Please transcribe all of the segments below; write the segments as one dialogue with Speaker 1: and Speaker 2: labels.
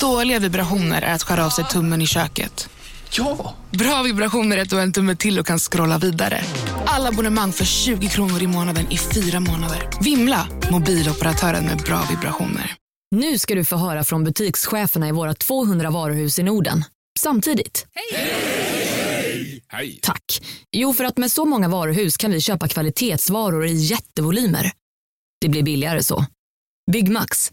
Speaker 1: Dåliga vibrationer är att skära av sig tummen i köket.
Speaker 2: Ja!
Speaker 1: Bra vibrationer är att du har en tumme till och kan scrolla vidare. Alla abonnemang för 20 kronor i månaden i fyra månader. Vimla! Mobiloperatören med bra vibrationer.
Speaker 3: Nu ska du få höra från butikscheferna i våra 200 varuhus i Norden. Samtidigt.
Speaker 4: Hej!
Speaker 3: Tack. Jo, för att med så många varuhus kan vi köpa kvalitetsvaror i jättevolymer. Det blir billigare så. Byggmax.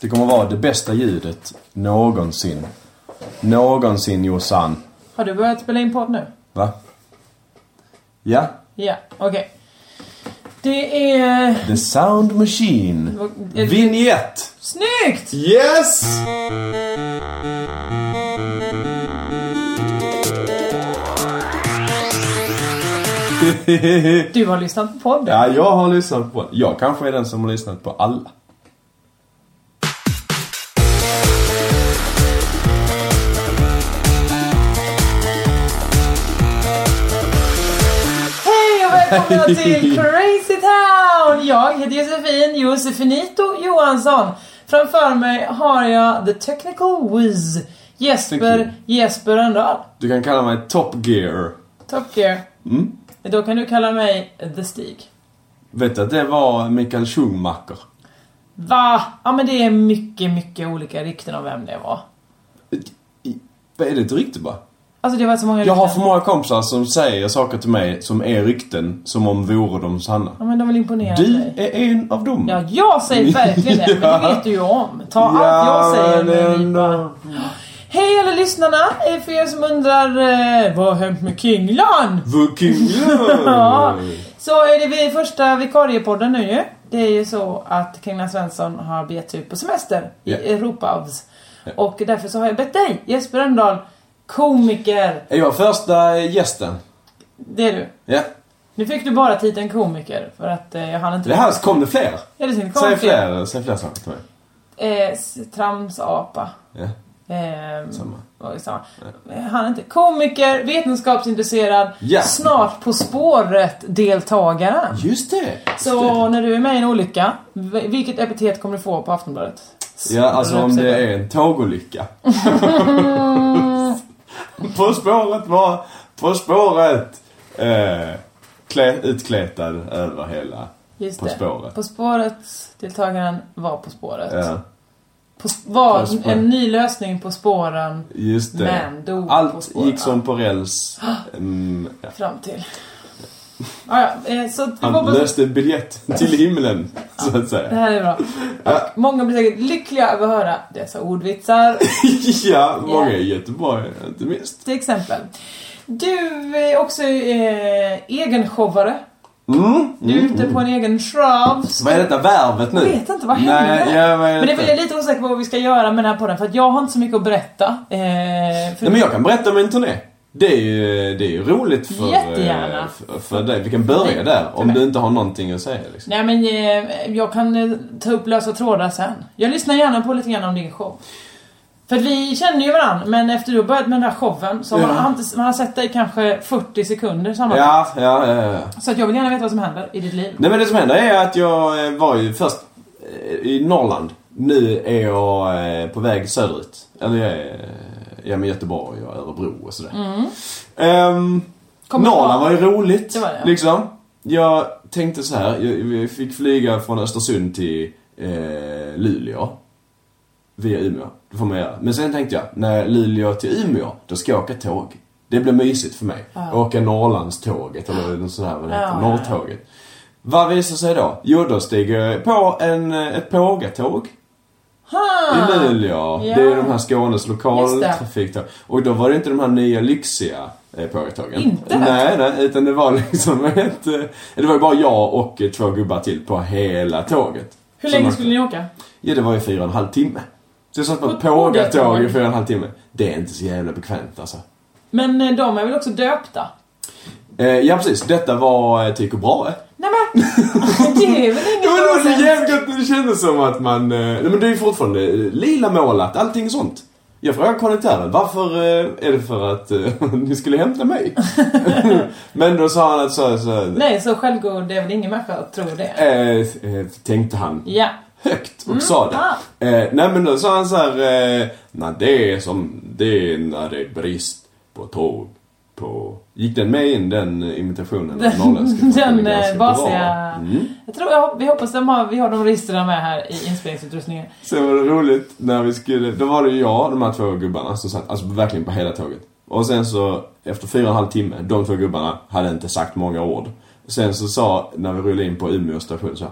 Speaker 5: Det kommer vara det bästa ljudet någonsin. Någonsin Jossan.
Speaker 6: Har du börjat spela in podd nu?
Speaker 5: Va? Ja,
Speaker 6: Ja, okej. Det är...
Speaker 5: The Sound Machine. Vignett!
Speaker 6: Snyggt!
Speaker 5: Yes!
Speaker 6: Du har lyssnat på podden.
Speaker 5: Ja, jag har lyssnat på Jag kanske är den som har lyssnat på alla.
Speaker 6: Hej och välkomna till Crazy Town! Jag heter Josefin Josefinito Johansson. Framför mig har jag The Technical Wiz
Speaker 5: Thank
Speaker 6: Jesper
Speaker 5: you.
Speaker 6: Jesper Rönndahl.
Speaker 5: Du kan kalla mig Top Gear.
Speaker 6: Top Gear.
Speaker 5: Mm.
Speaker 6: Då kan du kalla mig The Stig.
Speaker 5: Vet du att det var Mikael Schumacher?
Speaker 6: Va? Ja men det är mycket, mycket olika rykten om vem det var.
Speaker 5: I- Vad är det ett rykte bara?
Speaker 6: Alltså det var så många
Speaker 5: Jag har
Speaker 6: rykten.
Speaker 5: för många kompisar som säger saker till mig som är rykten som om vore de sanna.
Speaker 6: Ja men de vill imponera
Speaker 5: Du
Speaker 6: dig.
Speaker 5: är en av dem.
Speaker 6: Ja, jag säger verkligen det. Men det
Speaker 5: Mm. Ja.
Speaker 6: vet du ju om. Ta allt jag säger med en
Speaker 5: men
Speaker 6: nypa.
Speaker 5: ändå.
Speaker 6: Hej alla lyssnarna! Eh, För er som undrar eh, vad har hänt med Kinglan?
Speaker 5: Fucking
Speaker 6: Ja,
Speaker 5: ja.
Speaker 6: så är det vi första vikariepodden nu ju. Det är ju så att Kringlan Svensson har begett sig ut på semester i
Speaker 5: Ja.
Speaker 6: Europaavs. Och därför så har jag bett dig, Jesper Rönndahl, komiker.
Speaker 5: Är jag första eh, gästen?
Speaker 6: Det är du.
Speaker 5: Ja.
Speaker 6: Nu fick du bara titeln komiker för att eh, jag hann inte...
Speaker 5: Det här kom det fler.
Speaker 6: Ja, det är synd.
Speaker 5: Säg
Speaker 6: Kom till-
Speaker 5: fler, säg fler saker till mig.
Speaker 6: Eh, s- tramsapa.
Speaker 5: Ja.
Speaker 6: Ehm,
Speaker 5: Samma.
Speaker 6: var det samma. Han är inte komiker, vetenskapsintresserad,
Speaker 5: Ja.
Speaker 6: snart På spåret-deltagare.
Speaker 5: Just det. just
Speaker 6: Så
Speaker 5: det.
Speaker 6: när du är med i en olycka, v- vilket epitet kommer du få på Aftonbladet?
Speaker 5: Ja, alltså om det är en tågolycka. på spåret var... På spåret! Eh, klä, utklätad över hela...
Speaker 6: Just
Speaker 5: På
Speaker 6: det.
Speaker 5: spåret.
Speaker 6: På spåret-deltagaren var På spåret.
Speaker 5: Ja,
Speaker 6: På, sp- var
Speaker 5: På spåret.
Speaker 6: en ny lösning på spåren
Speaker 5: just det.
Speaker 6: Men dog på
Speaker 5: Allt
Speaker 6: spåret.
Speaker 5: gick som på räls. Mm, ja.
Speaker 6: fram till. Ah, ja, eh, så vi
Speaker 5: Han
Speaker 6: hoppas att
Speaker 5: löste biljett till himlen, så att
Speaker 6: det
Speaker 5: säga.
Speaker 6: här är bra. Och många blir säkert lyckliga över att höra dessa ordvitsar.
Speaker 5: ja, många i Göteborg, inte minst.
Speaker 6: Till exempel. Du är också eh, egenshoware.
Speaker 5: Mm.
Speaker 6: Du är ute på en egen show.
Speaker 5: Vad är detta värvet nu?
Speaker 6: Jag vet inte, vad händer?
Speaker 5: Nej, jag vet
Speaker 6: men det är
Speaker 5: inte.
Speaker 6: väl jag är lite osäker på vad vi ska göra med den här podden för att jag har inte så mycket att berätta. Eh, för
Speaker 5: Nej, men jag kan berätta om min turné. Det är ju, det är ju roligt för,
Speaker 6: Jättegärna.
Speaker 5: eh, för, för dig. Vi kan börja där, om du inte har någonting att säga. Liksom.
Speaker 6: Nej men eh, jag kan eh, ta upp lösa trådar sen. Jag lyssnar gärna på lite grann om din show. För att vi känner ju varandra men efter du har börjat med den här showen så har man,
Speaker 5: Ja.
Speaker 6: har inte, man har sett dig i kanske 40 sekunder sammanlagt.
Speaker 5: Ja, ja, ja, ja.
Speaker 6: Så att jag vill gärna veta vad som händer i ditt liv.
Speaker 5: Nej men det som händer är att jag eh, var ju först eh, i Norrland. Nu är jag eh, på väg söderut. Eller jag är, eh, jag är med Göteborg och Örebro och sådär. Ehm,
Speaker 6: Kommer
Speaker 5: Norrland var
Speaker 6: tillbaka.
Speaker 5: ju roligt.
Speaker 6: Det var det, ja.
Speaker 5: Liksom. Jag tänkte så här. Jag, jag fick flyga från Östersund till eh, Luleå. Via Umeå. Det får man göra. Men sen tänkte jag, när Luleå till Umeå, då ska jag åka tåg. Det blir mysigt för mig. Åka Norrlandståget eller något sånt här vad det heter.
Speaker 6: Ja, ja, ja.
Speaker 5: Norrtåget. Vad visar sig då? Jo, då stiger jag på en, eh, ett pågatåg. I Luleå.
Speaker 6: Ja.
Speaker 5: Det är de här Skånes
Speaker 6: Just
Speaker 5: lokaltrafiktåg. Och då var det inte de här nya lyxiga eh, pågatågen.
Speaker 6: Inte?
Speaker 5: Nej, nej. Utan det var liksom ett... eh, Det var ju bara jag och eh, två gubbar till på hela tåget.
Speaker 6: Hur
Speaker 5: Som
Speaker 6: länge
Speaker 5: åkte.
Speaker 6: skulle ni åka?
Speaker 5: Ja, det var ju fyra och en halv timme. Så Så jag satt på
Speaker 6: På
Speaker 5: ett pågatåg i
Speaker 6: pågatåg.
Speaker 5: fyra och en halv timme. Det är inte så jävla bekvämt alltså.
Speaker 6: Men eh, de är väl också döpta?
Speaker 5: Eh, ja precis, detta var eh, Tycho Brahe.
Speaker 6: Nej men, det är väl
Speaker 5: Ja, men det var
Speaker 6: inget
Speaker 5: så
Speaker 6: nonsens?
Speaker 5: jävligt gött, det kändes som att man... eh, Nej men det är ju fortfarande eh, lila målat, allting sånt. Jag frågade konduktören, varför eh, är det för att eh, ni skulle hämta mig? men då sa han att så, så
Speaker 6: Nej, så självgod är väl ingen människa att tro det.
Speaker 5: eh, eh, tänkte han
Speaker 6: Ja. Mm,
Speaker 5: högt och sa det. Eh, nej men då sa han så här, eh, nej det är som, det är när det är brist på tåg. På... Gick den med in den eh, imitationen? av norrländska?
Speaker 6: Den, den
Speaker 5: är ganska
Speaker 6: eh,
Speaker 5: bra. Mm.
Speaker 6: basiga... Jag tror, jag, hop- vi hoppas de har, vi har de registren med här i inspelningsutrustningen.
Speaker 5: Sen var det roligt när vi skulle, då var det ju jag de här två gubbarna som satt, alltså verkligen på hela tåget. Och sen så, efter fyra och en halv timme, de två gubbarna hade inte sagt många ord. Sen så sa, när vi rullade in på Umeå station så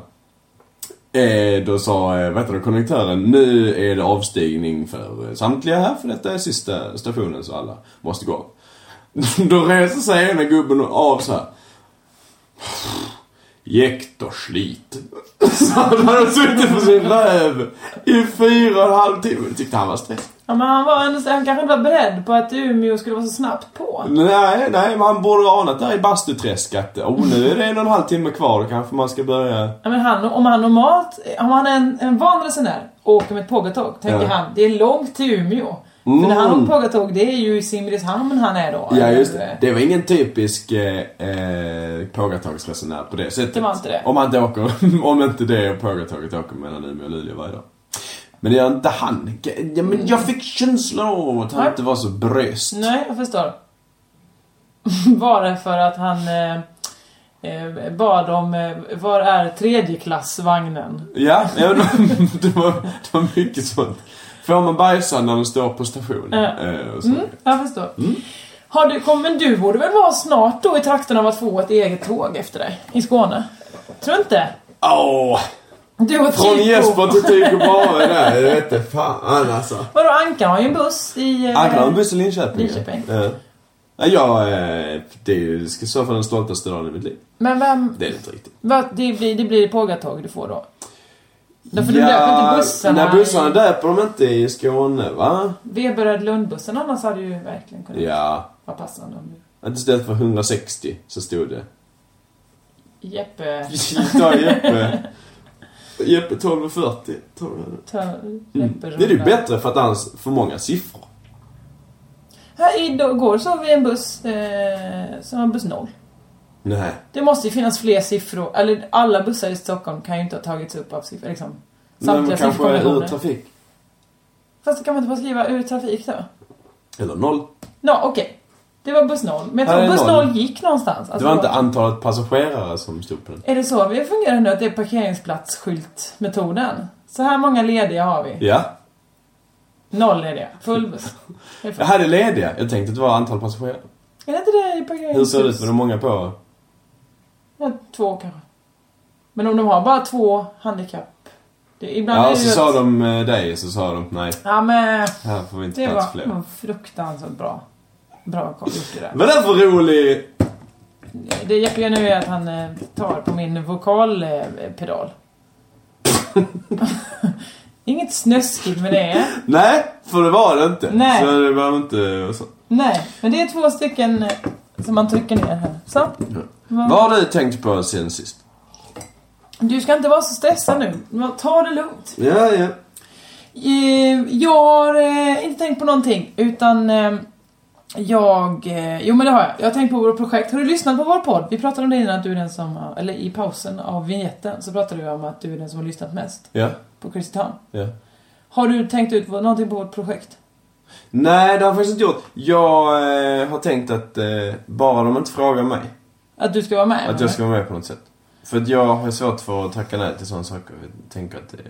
Speaker 5: här, eh, då sa, eh, vad heter det, konduktören, nu är det avstigning för eh, samtliga här för detta är sista stationen så alla måste gå. Då reser sig ena gubben av så här. Jäkt och slit. Så han hade suttit på sin röv i fyra och en halv timme. Det tyckte han var stress.
Speaker 6: Ja, men han, var, ändå- han kanske inte var beredd på att Umeå skulle vara så snabbt på.
Speaker 5: Nej, nej, man borde ha anat där i bastuträsk att oh, nu är det en och en halv timme kvar. Då kanske man ska börja...
Speaker 6: Ja, men han, om han normalt, om han är en, en van resenär och åker med ett pågatåg, tänker
Speaker 5: Ja. Mm.
Speaker 6: han det är långt till Umeå. För när han åker pågatåg, det är ju i Simrishamn han är då.
Speaker 5: Ja,
Speaker 6: eller?
Speaker 5: just det. Det var ingen typisk eh, eh, pågatågsresenär på det sättet.
Speaker 6: Det var inte det.
Speaker 5: Om man inte åker, om inte det pågatåget åker mellan Umeå och Luleå varje dag. Men det gör inte han. Ja, men jag fick känslan av att han
Speaker 6: Nej.
Speaker 5: inte var så bröst.
Speaker 6: Nej, jag förstår. Bara för att han eh, eh, bad om, eh, var är tredjeklassvagnen?
Speaker 5: Ja, ja de, det, var, det var mycket sånt. Får man bajsa när de står på station?
Speaker 6: Ja.
Speaker 5: Eh, och så.
Speaker 6: Mm, jag förstår. Har du, kom, men du borde väl vara snart då i trakten av att få ett eget tåg efter dig? I Skåne? Tror inte?
Speaker 5: Åh!
Speaker 6: Du och
Speaker 5: Från
Speaker 6: Tycho.
Speaker 5: Jesper till Tycho Brahe där, jag vet inte fan alltså.
Speaker 6: Vadå, Ankan har ju en buss i... eh,
Speaker 5: Agnar har en buss i Linköping.
Speaker 6: Linköping.
Speaker 5: Ja. Ja, jag, eh, det är ju i så fall den stoltaste dagen i mitt liv.
Speaker 6: Men vem...
Speaker 5: Det är det inte riktigt.
Speaker 6: Vad, det, blir, det blir pågatåg du får då? Därför de döper inte bussarna.
Speaker 5: Nej, bussarna döper de inte i Skåne, va?
Speaker 6: Veberöd Lundbussen annars hade ju verkligen kunnat
Speaker 5: Ja.
Speaker 6: vara passande om du...
Speaker 5: Att istället för 160 så stod det.
Speaker 6: Jeppe...
Speaker 5: Ta Jeppe. Jeppe 1240. 1200.
Speaker 6: Tö- Jeppe
Speaker 5: Mm. Det är ju bättre för att hans för många siffror.
Speaker 6: Här igår såg vi en buss eh, som var buss 0.
Speaker 5: Nej.
Speaker 6: Det måste ju finnas fler siffror. Eller alla bussar i Stockholm kan ju inte ha tagits upp av siffror. Liksom,
Speaker 5: Nej, men
Speaker 6: samtliga
Speaker 5: kanske ur
Speaker 6: siffror.
Speaker 5: trafik.
Speaker 6: Fast kan man inte bara skriva ur trafik då?
Speaker 5: Eller noll.
Speaker 6: Nå, okej. Det var buss 0. Men
Speaker 5: Här
Speaker 6: jag
Speaker 5: är
Speaker 6: tror buss
Speaker 5: noll.
Speaker 6: 0 gick någonstans.
Speaker 5: Det
Speaker 6: Alltså,
Speaker 5: var inte antalet passagerare som stod på den.
Speaker 6: Är det så vi fungerar nu, att det är parkeringsplatsskyltmetoden? Så här många lediga har vi.
Speaker 5: Ja.
Speaker 6: Noll lediga. Full buss. Det är
Speaker 5: Jag
Speaker 6: full.
Speaker 5: hade lediga. Jag tänkte att det var antal passagerare.
Speaker 6: Är det inte det i
Speaker 5: Hur ser det ut med
Speaker 6: parkeringshus?
Speaker 5: de många på?
Speaker 6: Ja, två kanske. Men om de har bara två handikapp... Det, ibland är
Speaker 5: Ja,
Speaker 6: det
Speaker 5: och så
Speaker 6: ju
Speaker 5: sa
Speaker 6: att-
Speaker 5: de eh, dig, så sa de nej,
Speaker 6: Ja, men
Speaker 5: här får vi inte
Speaker 6: det
Speaker 5: plats
Speaker 6: var
Speaker 5: fler.
Speaker 6: var fruktansvärt bra. Bra kom- gjort det där.
Speaker 5: Vad är det för rolig...
Speaker 6: Det Jeppe gör nu är att han eh, tar på min eh, vokalpedal. Inget snöskigt med det.
Speaker 5: Nej, för det var det inte.
Speaker 6: Nej.
Speaker 5: Så det var inte... och Så.
Speaker 6: Nej, men det är två stycken eh, som man trycker ner här. Så.
Speaker 5: Vad har du tänkt på sen sist?
Speaker 6: Du ska inte vara så stressad nu. Men Ta det lugnt.
Speaker 5: Ja, ja.
Speaker 6: Eh, Jag har eh, inte tänkt på någonting, utan eh, jag... eh, Jo, men det har jag. Jag har tänkt på vårt projekt. Har du lyssnat på vår podd? Vi pratade om det innan att du är den som... har- Eller i pausen av vignetten så pratade vi om att du är den som har lyssnat mest
Speaker 5: Ja,
Speaker 6: på Crazy Town.
Speaker 5: ja.
Speaker 6: Har du tänkt ut vad- någonting på vårt projekt?
Speaker 5: Nej, det har jag faktiskt inte gjort. Jag eh, har tänkt att eh, bara de inte frågar mig,
Speaker 6: Att du ska vara med?
Speaker 5: att jag ska vara med på något sätt. För att jag har svårt för att tacka nej till sådana saker. Jag tänker att... Eh,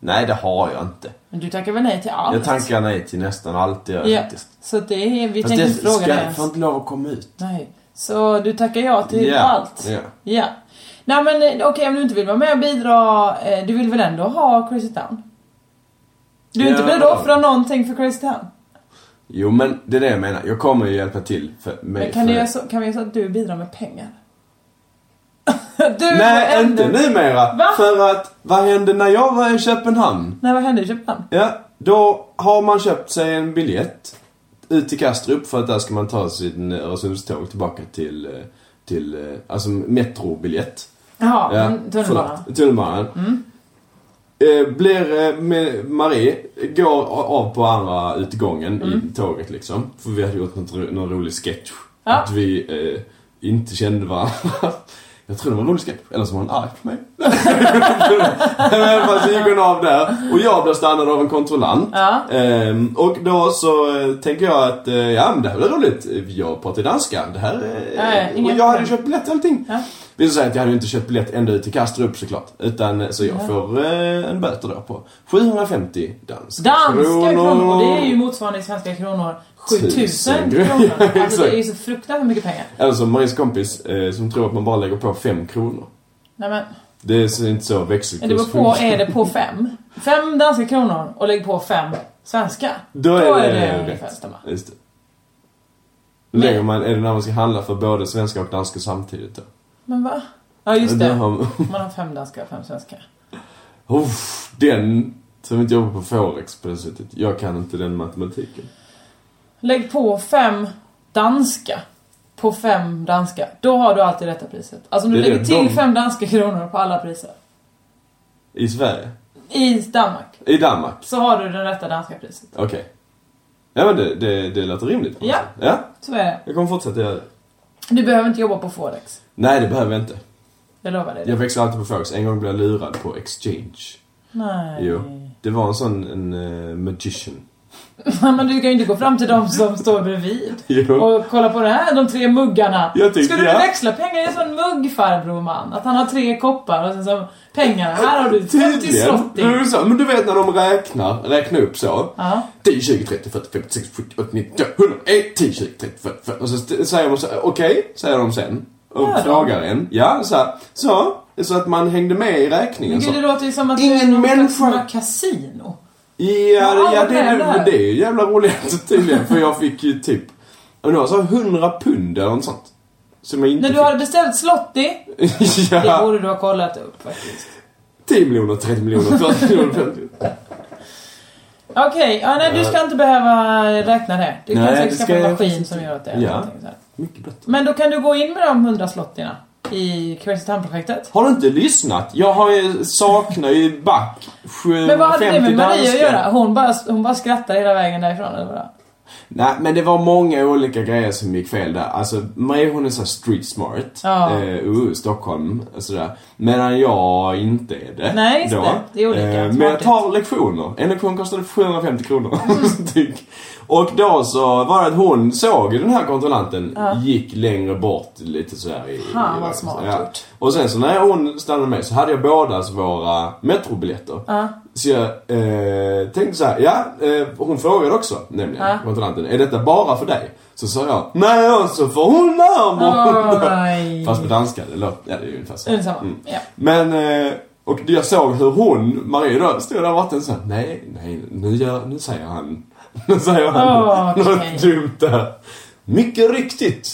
Speaker 5: nej, det har jag inte.
Speaker 6: Men du tackar väl nej till allt?
Speaker 5: Jag tackar nej till nästan allt jag
Speaker 6: Ja,
Speaker 5: gör faktiskt.
Speaker 6: så att det är... Vi
Speaker 5: Fast
Speaker 6: tänker
Speaker 5: det
Speaker 6: inte fråga
Speaker 5: ska,
Speaker 6: dig ens.
Speaker 5: får inte lov att komma ut.
Speaker 6: Nej. Så du tackar ja till
Speaker 5: Ja,
Speaker 6: allt?
Speaker 5: ja.
Speaker 6: Ja. Nej men eh, okej om du inte vill vara med och bidra, eh, du vill väl ändå ha Crazy Town? Du är inte
Speaker 5: Ja.
Speaker 6: beredd att offra någonting för Crazy Town?
Speaker 5: Jo men det är det jag menar. Jag kommer ju hjälpa till. För mig,
Speaker 6: Men kan,
Speaker 5: för...
Speaker 6: du göra så, kan vi göra så att du bidrar med pengar? du
Speaker 5: Nej, inte
Speaker 6: nu.
Speaker 5: numera.
Speaker 6: Va?
Speaker 5: För att, vad hände när jag var i Köpenhamn?
Speaker 6: Nej vad hände i Köpenhamn?
Speaker 5: Ja, Då har man köpt sig en biljett ut till Kastrup för att där ska man ta sin Öresundståg tillbaka till, eh, till eh, alltså metrobiljett.
Speaker 6: Jaha, mm, tunnelbana.
Speaker 5: förlåt, Tunnelbanan.
Speaker 6: Mm.
Speaker 5: Eh, Blir eh, med Marie, går av på andra utgången i tåget liksom. För vi hade gjort något, ro- någon rolig sketch.
Speaker 6: Mm. Ja.
Speaker 5: Att vi eh, inte kände varandra. Jag tror det var en rolig sketch, eller så var hon arg på mig. Men i alla fall så gick hon av där och jag blev stannad av en kontrollant.
Speaker 6: Ja.
Speaker 5: Ehm, och då så eh, tänker jag att, eh, ja men det här blir roligt. Jag pratar danska. Det här eh,
Speaker 6: Nej,
Speaker 5: och
Speaker 6: inga
Speaker 5: jag hade
Speaker 6: problem.
Speaker 5: köpt biljett och allting.
Speaker 6: Ja.
Speaker 5: Visar sig att jag hade ju inte köpt biljett ända ut till Kastrup såklart. Utan, så jag får eh, en böter då på 750 danska,
Speaker 6: Danska kronor, och det är ju motsvarande i svenska kronor 7000
Speaker 5: Tusen
Speaker 6: kronor.
Speaker 5: kronor. Ja,
Speaker 6: Alltså det är ju
Speaker 5: exakt.
Speaker 6: så fruktansvärt mycket pengar.
Speaker 5: Eller som Maries kompis eh, som tror att man bara lägger på 5 kronor.
Speaker 6: Nej men,
Speaker 5: Det är så- inte så
Speaker 6: är det,
Speaker 5: växelkurs
Speaker 6: på, är det på fem? Fem danska kronor och lägg på fem svenska.
Speaker 5: Då är det,
Speaker 6: ungefär
Speaker 5: rätt.
Speaker 6: samma.
Speaker 5: Just det. Då lägger man, är det när man ska handla för både svenska och danska samtidigt då?
Speaker 6: Men va? Ja just
Speaker 5: Då
Speaker 6: det.
Speaker 5: har man-
Speaker 6: Man har fem danska och fem svenska.
Speaker 5: Uff, den som inte jobbar på Forex på det sättet. Jag kan inte den matematiken.
Speaker 6: Lägg på fem danska på fem danska. Då har du alltid rätta priset. Alltså om du
Speaker 5: Det är
Speaker 6: lägger
Speaker 5: det.
Speaker 6: till
Speaker 5: De-
Speaker 6: fem danska kronor på alla priser.
Speaker 5: I Sverige?
Speaker 6: I Danmark.
Speaker 5: I Danmark?
Speaker 6: Så har du det rätta danska priset.
Speaker 5: Okej. Ja men det, det, det låter rimligt. på något
Speaker 6: Ja.
Speaker 5: sätt. ja.
Speaker 6: Så är det.
Speaker 5: Jag kommer fortsätta göra det.
Speaker 6: Du behöver inte jobba på Forex.
Speaker 5: Nej det behöver jag inte.
Speaker 6: Jag lovar dig det.
Speaker 5: Jag växlar alltid på Forex. En gång blev jag lurad på Exchange.
Speaker 6: Nej.
Speaker 5: Jo. Det var en sån en eh, magician.
Speaker 6: Men du kan ju inte gå fram till de som står bredvid.
Speaker 5: Jo.
Speaker 6: Och kolla på det här, de tre muggarna.
Speaker 5: Jag tycker-
Speaker 6: Skulle
Speaker 5: ja.
Speaker 6: du växla pengar i en sån mugg farbror man? Att han har tre koppar och sen så pengarna. Här har du 50
Speaker 5: Men
Speaker 6: slotting.
Speaker 5: du sa- Mm, Men du vet när de räknar, räknar upp så.
Speaker 6: Ja.
Speaker 5: 10, 20, 30, 40, 50, 60, 70, 80, 90, 100, 1, 10, 20, 30, 40, 50. Och så st- säger de så här, okej, säger de sen. Och
Speaker 6: Gör de?
Speaker 5: frågar en. Ja, så här. Så. Så att man hängde med i räkningen.
Speaker 6: Men
Speaker 5: Så.
Speaker 6: gud, det låter ju som att
Speaker 5: Ingen
Speaker 6: du är någon slags
Speaker 5: människa-
Speaker 6: jävla kasino.
Speaker 5: Ja,
Speaker 6: Ja,
Speaker 5: det- ja
Speaker 6: vad
Speaker 5: det,
Speaker 6: är det
Speaker 5: är-
Speaker 6: här?
Speaker 5: det är ju jävla roligt tydligen. För jag fick ju typ, jag undrar, så 100 pund eller något sånt. Som jag inte
Speaker 6: När du hade beställt Slotty,
Speaker 5: fick.
Speaker 6: det
Speaker 5: ja,
Speaker 6: borde du ha kollat upp faktiskt.
Speaker 5: 10 miljoner, 30 miljoner, 40 miljoner, 50
Speaker 6: Okej, ja, nej du ska inte behöva räkna det. Du kan
Speaker 5: Nej,
Speaker 6: säkert
Speaker 5: det
Speaker 6: skaffa
Speaker 5: ska
Speaker 6: en
Speaker 5: jag
Speaker 6: maskin
Speaker 5: faktiskt
Speaker 6: som gör åt det.
Speaker 5: Ja.
Speaker 6: eller någonting så här.
Speaker 5: Mycket bättre.
Speaker 6: Men då kan du gå in med de 100 Slottyna i Crazy Town-projektet.
Speaker 5: Har du inte lyssnat? Jag har ju, saknar ju back 750
Speaker 6: Men vad hade det med Maria att
Speaker 5: danskar.
Speaker 6: göra? Hon bara, hon bara skrattade hela vägen därifrån eller vadå?
Speaker 5: Nej, men det var många olika grejer som gick fel där. Alltså, Marie hon är så här street smart.
Speaker 6: Ja.
Speaker 5: Eh, uh, Stockholm, och sådär. Medan jag inte är det.
Speaker 6: Nej, just
Speaker 5: då. Eh,
Speaker 6: det. Det är olika
Speaker 5: men jag
Speaker 6: smarthet.
Speaker 5: tar lektioner. En lektion kostade 750 kronor.
Speaker 6: Mm.
Speaker 5: styck. och då så var det att hon såg den här kontrollanten, gick längre bort lite sådär i...
Speaker 6: Fan,
Speaker 5: i
Speaker 6: vad smart gjort.
Speaker 5: Och sen så när hon stannade med så hade jag bådas våra metrobiljetter. Så jag eh, tänkte så här, ja, eh, hon frågade också nämligen, kontrollanten, är detta bara för dig? Så sa jag, nej och så får hon närmare.
Speaker 6: Oj.
Speaker 5: Fast på danska, det låter, ja Mm. det är ju ungefär så.
Speaker 6: Det är samma. Ja.
Speaker 5: Men, eh, och jag såg hur hon, Marie då, stod där och vatten så här, nej, nej, nu, gör, nu säger han, nu säger han
Speaker 6: Åh, okej.
Speaker 5: något dumt där. Mycket riktigt.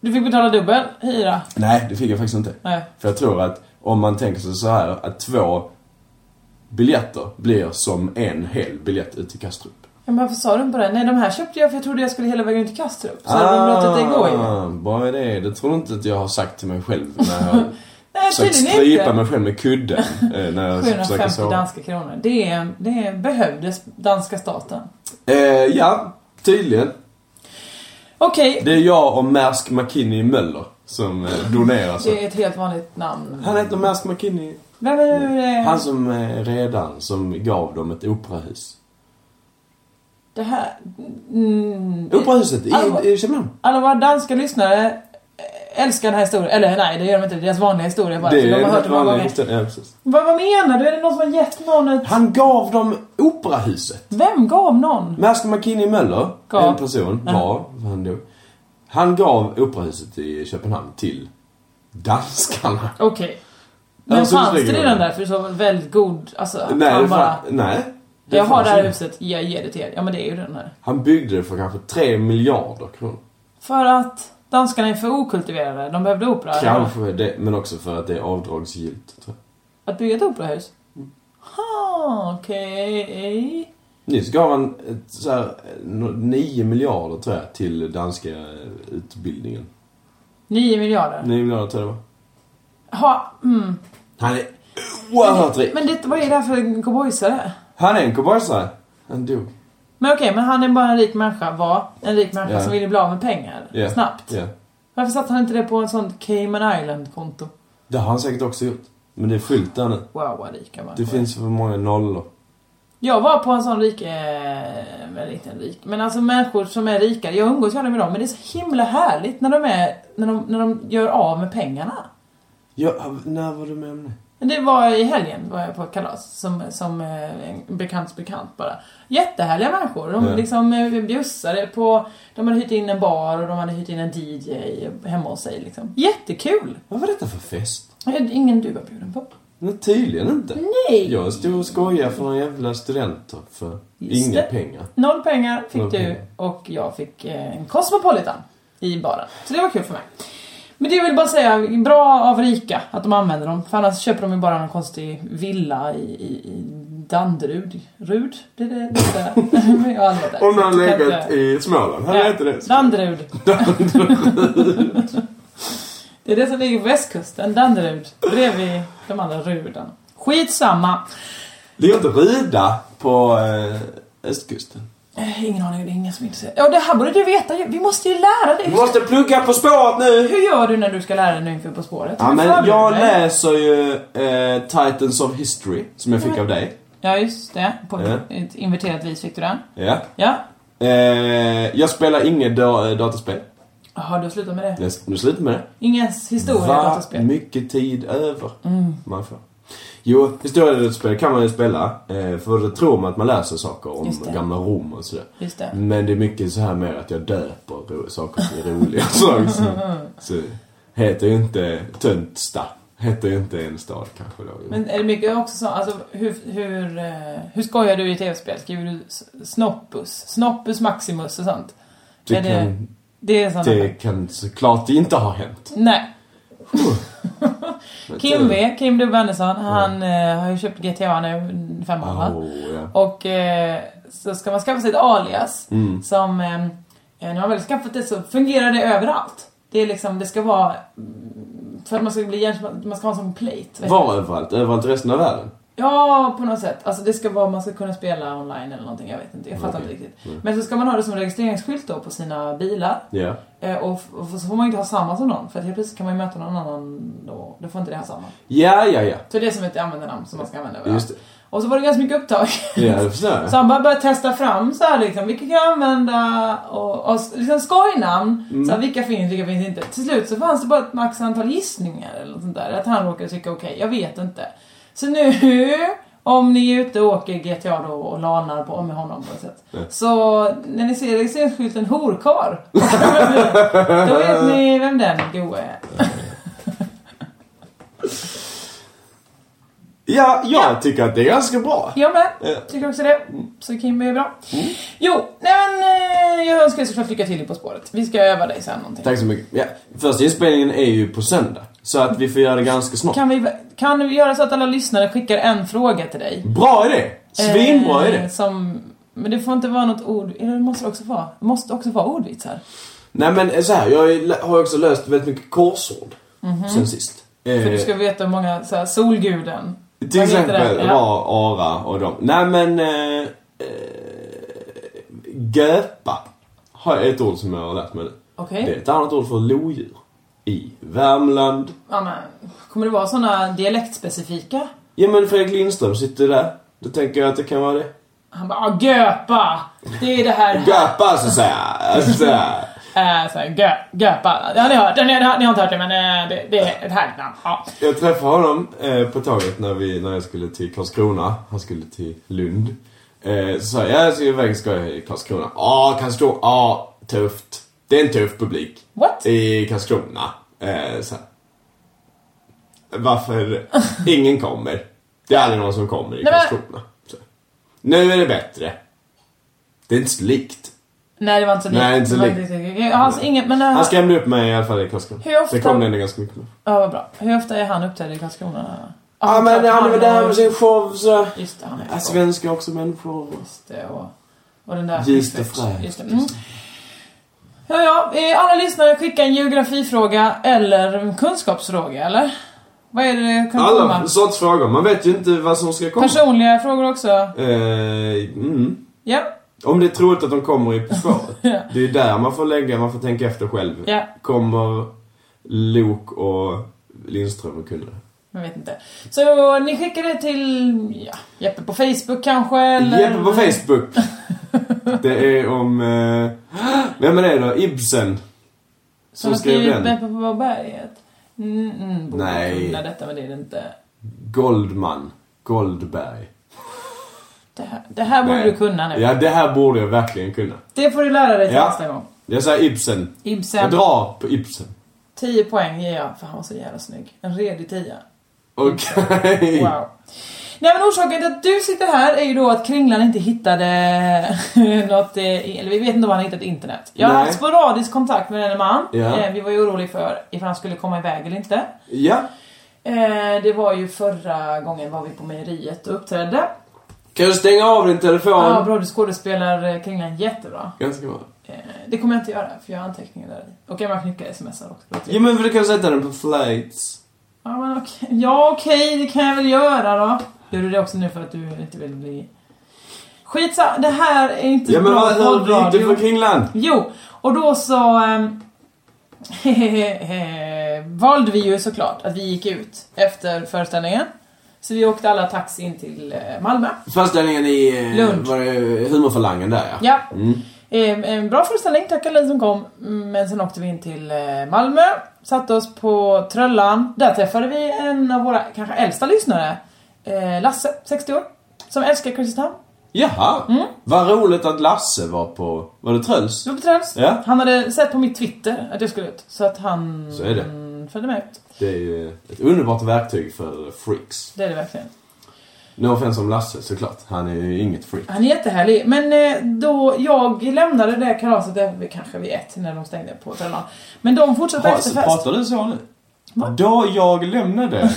Speaker 6: Du fick betala dubbel hyra.
Speaker 5: Nej, det fick jag faktiskt inte.
Speaker 6: Nej.
Speaker 5: För jag tror att om man tänker sig så här att två biljetter blir som en hel biljett ut till Kastrup.
Speaker 6: Ja, Men varför sa du inte på det? Nej, de här köpte jag för jag trodde jag skulle hela vägen ut till Kastrup. Så hade de låtit det gå ju.
Speaker 5: Ah, Bra idé. Det tror inte att jag har sagt till mig själv när jag
Speaker 6: Nej,
Speaker 5: försökt
Speaker 6: tydligen inte.
Speaker 5: strypa mig själv med kudden. eh, när jag försöker
Speaker 6: 750
Speaker 5: sova.
Speaker 6: danska kronor. Det, är, det är, behövdes danska staten.
Speaker 5: Eh, ja, tydligen.
Speaker 6: Okej,
Speaker 5: Det är jag och Mersk McKinney Möller som eh, donerar. Så.
Speaker 6: det är ett helt vanligt namn.
Speaker 5: Han heter Mersk McKinney.
Speaker 6: Vem är det?
Speaker 5: Han som eh, redan som gav dem ett operahus.
Speaker 6: Det här... Mm,
Speaker 5: Operahuset i,
Speaker 6: Allvar.
Speaker 5: i Köpenhamn.
Speaker 6: alla våra danska lyssnare älskar den här historien. Eller nej, det gör de inte. Det är deras vanliga historia bara.
Speaker 5: Det
Speaker 6: så
Speaker 5: är
Speaker 6: Alltså, de har hört
Speaker 5: helt
Speaker 6: det många
Speaker 5: vanligt.
Speaker 6: gånger.
Speaker 5: Ja, precis.
Speaker 6: Vad, vad menar du? Är det någon som har gett någon ett...
Speaker 5: Han gav dem operahuset.
Speaker 6: Vem gav någon?
Speaker 5: Master McKinney Möller,
Speaker 6: Gav.
Speaker 5: en person, var, han dog. Han gav operahuset i Köpenhamn till danskarna.
Speaker 6: Okej. Men
Speaker 5: Alltså,
Speaker 6: fanns det
Speaker 5: slänger
Speaker 6: redan
Speaker 5: jag.
Speaker 6: där? För det så var väldigt god... Alltså, att
Speaker 5: Nej,
Speaker 6: han
Speaker 5: det
Speaker 6: bara...
Speaker 5: fan, nej. Det
Speaker 6: Jag har det
Speaker 5: fanns
Speaker 6: här
Speaker 5: inte.
Speaker 6: huset, jag ger det till er. Ja men det är ju den här.
Speaker 5: Han byggde det för kanske 3 miljarder kronor.
Speaker 6: För att danskarna är för okultiverade. De behövde opera.
Speaker 5: Kanske det, men också för att det är avdragsgillt. Tror jag.
Speaker 6: Att bygga ett operahus? Ha, okej.
Speaker 5: Nyss gav han ett, så här, eh, nå- 9 miljarder tror jag till danska eh, utbildningen.
Speaker 6: 9 miljarder.
Speaker 5: 9 miljarder tror jag det var.
Speaker 6: Ha, mm.
Speaker 5: Han är oerhört rik.
Speaker 6: Men det, vad är det här för en cowboysare?
Speaker 5: Han är en cowboysare. Han dog.
Speaker 6: Men okej, men han är bara en rik människa, var en rik människa
Speaker 5: Ja.
Speaker 6: som ville bli av med pengar.
Speaker 5: Ja.
Speaker 6: Snabbt.
Speaker 5: Ja.
Speaker 6: Varför satte han inte det på en sån Cayman Island-konto?
Speaker 5: Det har han säkert också gjort. Men det är fullt där nu.
Speaker 6: Wow, vad rika människor
Speaker 5: Det
Speaker 6: är.
Speaker 5: finns för många nollor.
Speaker 6: Jag var på en sån rik, eh, eller inte en rik, men alltså människor som är rika. Jag umgås gärna med dem, men det är så himla härligt när de, är, när de, när de gör av med pengarna.
Speaker 5: Ja, när var du med om det?
Speaker 6: Det var i helgen var jag på ett kalas som, som eh, en bekants bekant bara. Jättehärliga människor. De
Speaker 5: Ja.
Speaker 6: liksom eh, bjussade på... De hade hyrt in en bar och de hade hyrt in en DJ hemma hos sig liksom. Jättekul!
Speaker 5: Vad var detta för fest?
Speaker 6: Jag hade Ingen du var bjuden på.
Speaker 5: Nej, tydligen inte.
Speaker 6: Nej!
Speaker 5: Jag stod och skojade för några jävla studenter för
Speaker 6: Just
Speaker 5: inga
Speaker 6: det.
Speaker 5: pengar.
Speaker 6: Noll pengar fick
Speaker 5: Noll
Speaker 6: du
Speaker 5: pengar.
Speaker 6: och jag fick eh, en Cosmopolitan i baren. Så det var kul för mig. Men det vill bara säga, bra av rika att de använder dem. För annars köper de ju bara någon konstig villa i, i, i Danderud. Rud? Det är det, det, är det. jag har aldrig varit där.
Speaker 5: Om han
Speaker 6: Så jag kan
Speaker 5: legat
Speaker 6: inte-
Speaker 5: i Småland, hade
Speaker 6: Ja,
Speaker 5: inte det?
Speaker 6: Danderud. det är det som ligger på västkusten, Danderud. Bredvid de andra Rudarna. Skitsamma.
Speaker 5: Det är inte Ruda på eh, östkusten.
Speaker 6: Eh, Ingen aning, det är ingen som är intresserad. Ja, det här borde du veta ju. Vi måste ju lära dig.
Speaker 5: Du måste plugga På spåret nu!
Speaker 6: Hur gör du när du ska lära dig nu inför På spåret?
Speaker 5: Ja,
Speaker 6: Hur
Speaker 5: men
Speaker 6: förbereder
Speaker 5: jag
Speaker 6: du dig?
Speaker 5: läser ju eh, Titans of History, som jag fick av dig.
Speaker 6: Ja, just det. På
Speaker 5: Ja.
Speaker 6: ett inverterat vis fick du den.
Speaker 5: Ja.
Speaker 6: Ja.
Speaker 5: Eh, jag spelar inget da- eh, dataspel.
Speaker 6: Jaha, du har slutat med det.
Speaker 5: Jag nu slutar med det.
Speaker 6: Ingen historia i
Speaker 5: Vad
Speaker 6: dataspel. Mm.
Speaker 5: mycket tid över man får. Jo, historiedataspel kan man ju spela, eh, för då tror man att man läser saker om
Speaker 6: Just det.
Speaker 5: gamla Rom och sådär.
Speaker 6: Just det.
Speaker 5: Men det är mycket så här mer att jag döper ro- saker till roliga saker. Så, så heter ju inte Töntsta. Heter ju inte en stad kanske då.
Speaker 6: Men är det mycket också så, alltså hur, hur, eh, hur skojar du i tv-spel? Skriver du s- Snoppus? Snoppus Maximus och sånt?
Speaker 5: det,
Speaker 6: är det-
Speaker 5: kan,
Speaker 6: Det är sånt.
Speaker 5: det kan såklart inte ha hänt.
Speaker 6: Nej. Kim V, Kim W Andersson, han eh, har ju köpt GTA nu, femman va?
Speaker 5: Åh, ja.
Speaker 6: Och eh, så ska man skaffa sig ett alias
Speaker 5: Mm.
Speaker 6: som, eh, när man väl skaffat det så fungerar det överallt. Det är liksom, det ska vara, mm, för att man ska bli igenkänd, man ska ha en sån plate. vet du.
Speaker 5: Var överallt? Överallt i resten av världen?
Speaker 6: Ja, på något sätt. Alltså det ska vara, man ska kunna spela online eller någonting, jag vet inte, jag fattar inte riktigt. Men så ska man ha det som registreringsskylt då på sina bilar.
Speaker 5: Mm. Ja.
Speaker 6: Eh, och, f- och så får man ju inte ha samma som någon, för att helt plötsligt kan man ju möta någon annan då, då får inte det ha samma.
Speaker 5: Ja, ja, ja.
Speaker 6: Så det är som ett användarnamn som man ska använda
Speaker 5: Just det.
Speaker 6: Och så var det ganska mycket upptag.
Speaker 5: Ja, det förstår jag.
Speaker 6: Så han bara började testa fram så här liksom, vilka kan jag använda och, och liksom skojnamn.
Speaker 5: Mm.
Speaker 6: Så här, vilka finns, vilka finns inte. Till slut så fanns det bara ett max antal gissningar eller något sånt där. Att han råkade tycka okej, jag vet inte. Så nu, om ni är ute och åker GTA då och lanar på, med honom på något sätt. Så när ni ser registreringsskylten horkar Då vet ni vem den goe är.
Speaker 5: Ja, jag tycker att det är ganska bra.
Speaker 6: Jag med, tycker också det. Så Kim är bra.
Speaker 5: Mm.
Speaker 6: Jo, nej men eh, jag önskar dig såklart lycka till i På spåret. Vi ska öva dig sen någonting.
Speaker 5: Tack så mycket. Ja. Första inspelningen är ju på söndag. Så att vi får göra det ganska snart.
Speaker 6: Kan vi, kan vi göra så att alla lyssnare skickar en fråga till dig?
Speaker 5: Bra idé! Svinbra idé!
Speaker 6: Eh, Som, men det får inte vara något ord... Eller det måste också vara, det måste också vara ordvitsar.
Speaker 5: Nej men eh, så här, jag har ju lä- har ju också löst väldigt mycket korsord. Sen sist.
Speaker 6: Mhm. För du
Speaker 5: Eh,
Speaker 6: ska veta hur många... Så här, solguden.
Speaker 5: till
Speaker 6: Vad heter
Speaker 5: exempel
Speaker 6: den?
Speaker 5: var Ara och dem. Nej men... Eh, eh, göpa. Har jag ett ord som jag har lärt mig nu.
Speaker 6: Okej.
Speaker 5: Det är ett annat ord för lodjur. I Värmland.
Speaker 6: Ja, men, kommer det vara såna dialektspecifika?
Speaker 5: Ja men Fredrik Lindström sitter där. Då tänker jag att det kan vara det.
Speaker 6: Han bara ah, göpa! Det är det här...
Speaker 5: Göpa så att säga. Alltså, så här.
Speaker 6: Äh, så här, gö, göpa. Ja, ni, har, hört, det, ni, har, ni har inte hört det men eh, det, det är ett härligt namn. Ja.
Speaker 5: Jag träffade honom eh, på tåget när, vi, när jag skulle till Karlskrona. Han skulle till Lund. Eh, så sa jag, "Ja, jag ska iväg ska jag i Karlskrona. Ja, Karlskrona, ja, tufft. Det är en tuff publik.
Speaker 6: What?
Speaker 5: I Karlskrona. Eh, så här. Varför? Ingen kommer. Det är aldrig någon som kommer i
Speaker 6: Nej, men-
Speaker 5: Karlskrona. Så. Nu är det bättre. Det är inte så likt.
Speaker 6: Nej det var inte så
Speaker 5: Nej, inte så
Speaker 6: det var inte- Hans, ingen, men, eh,
Speaker 5: Han skrämde upp mig i alla fall i Karlskrona.
Speaker 6: Hur ofta-
Speaker 5: Det kom det ändå ganska mycket med.
Speaker 6: Ja, vad bra. Hur ofta är han uppträdd i Karlskrona? Ja,
Speaker 5: Ja, men
Speaker 6: klart,
Speaker 5: han var där med sin show så...
Speaker 6: Just det, han är
Speaker 5: Ja,
Speaker 6: så bra.
Speaker 5: Svenskar är också människor.
Speaker 6: Just det, och, och den där...
Speaker 5: Just det, fräscht.
Speaker 6: Just det, mm. Ja, ja, eh, alla lyssnare skicka en geografifråga eller en kunskapsfråga, eller? Vad är det det kan komma?
Speaker 5: Alla sorts frågor. Man vet ju inte vad som ska komma.
Speaker 6: Personliga frågor också?
Speaker 5: Eh, mm.
Speaker 6: Ja,
Speaker 5: Om det är troligt att de kommer i försvaret. Det är ju där man får lägga, man får tänka efter själv.
Speaker 6: Ja.
Speaker 5: Kommer Lok och Lindström att kunna det?
Speaker 6: jag vet inte. Så ni skickar det till ja, Jeppe på Facebook kanske, eller?
Speaker 5: Jeppe på Facebook. Det är om... Eh, vem är det då? Ibsen?
Speaker 6: Som
Speaker 5: Som
Speaker 6: har
Speaker 5: skrev
Speaker 6: skrivit
Speaker 5: den?
Speaker 6: Jeppe på berget? Mm, mm, borde
Speaker 5: Nej.
Speaker 6: kunna detta, men det är det inte.
Speaker 5: Goldman. Goldberg.
Speaker 6: Det här, det här borde
Speaker 5: Nej.
Speaker 6: du kunna nu.
Speaker 5: Ja, det här borde jag verkligen kunna.
Speaker 6: Det får du lära dig till
Speaker 5: Ja.
Speaker 6: nästa gång.
Speaker 5: Jag säger Ibsen. Jag
Speaker 6: Ibsen,
Speaker 5: drar på Ibsen.
Speaker 6: 10 poäng ger jag för han var så jävla snygg. En redig tia.
Speaker 5: Okej.
Speaker 6: Mm. Wow. Nej men orsaken till att du sitter här är ju då att Kringlan inte hittade något, eh, eller vi vet inte om han har hittat internet. Jag har
Speaker 5: Nej.
Speaker 6: haft sporadisk kontakt med denne man.
Speaker 5: Ja.
Speaker 6: Eh, Vi var ju oroliga för ifall han skulle komma iväg eller inte.
Speaker 5: Ja.
Speaker 6: Eh, Det var ju förra gången var vi på mejeriet och uppträdde.
Speaker 5: Kan du stänga av din telefon?
Speaker 6: Ja, bra du skådespelar eh, Kringlan jättebra.
Speaker 5: Ganska bra.
Speaker 6: Eh, Det kommer jag inte göra för jag har anteckningar där i. Och man knycka smsar också.
Speaker 5: Ja, men för du kan sätta den på flights.
Speaker 6: Ja, men okej. ja okej, det kan jag väl göra då. Gör du det också nu för att du inte vill bli... Skitsa, det här är inte
Speaker 5: Ja,
Speaker 6: så
Speaker 5: men
Speaker 6: bra
Speaker 5: vad, hur gick det för
Speaker 6: radio.
Speaker 5: Kringland?
Speaker 6: Jo, och då så... ehm, valde vi ju såklart att vi gick ut efter föreställningen. Så vi åkte alla taxi in till eh, Malmö.
Speaker 5: Föreställningen i... eh,
Speaker 6: Lund.
Speaker 5: Var det humorfalangen där ja.
Speaker 6: Ja.
Speaker 5: Mm.
Speaker 6: Eh, En bra föreställning, tack alla som kom. Men sen åkte vi in till eh, Malmö, satte oss på Tröllan. Där träffade vi en av våra kanske äldsta lyssnare, eh, Lasse, 60 år, som älskar Kristinehamn.
Speaker 5: Jaha.
Speaker 6: Mm.
Speaker 5: Vad roligt att Lasse var på... Var det Tröls?
Speaker 6: Vi var på Tröls.
Speaker 5: Ja.
Speaker 6: Han hade sett på mitt Twitter att jag skulle ut, så att han
Speaker 5: Så är det.
Speaker 6: mm, följde med ut.
Speaker 5: Det är ju ett underbart verktyg för freaks.
Speaker 6: Det är det verkligen.
Speaker 5: No offense om Lasse såklart. Han är ju inget freak.
Speaker 6: Han är jättehärlig. Men eh, då jag lämnade det kalaset, det var kanske vid ett när de stängde på Tröllan. Men de fortsatte
Speaker 5: Ha,
Speaker 6: efter
Speaker 5: så
Speaker 6: fest.
Speaker 5: pratar du så nu? Då jag lämnade?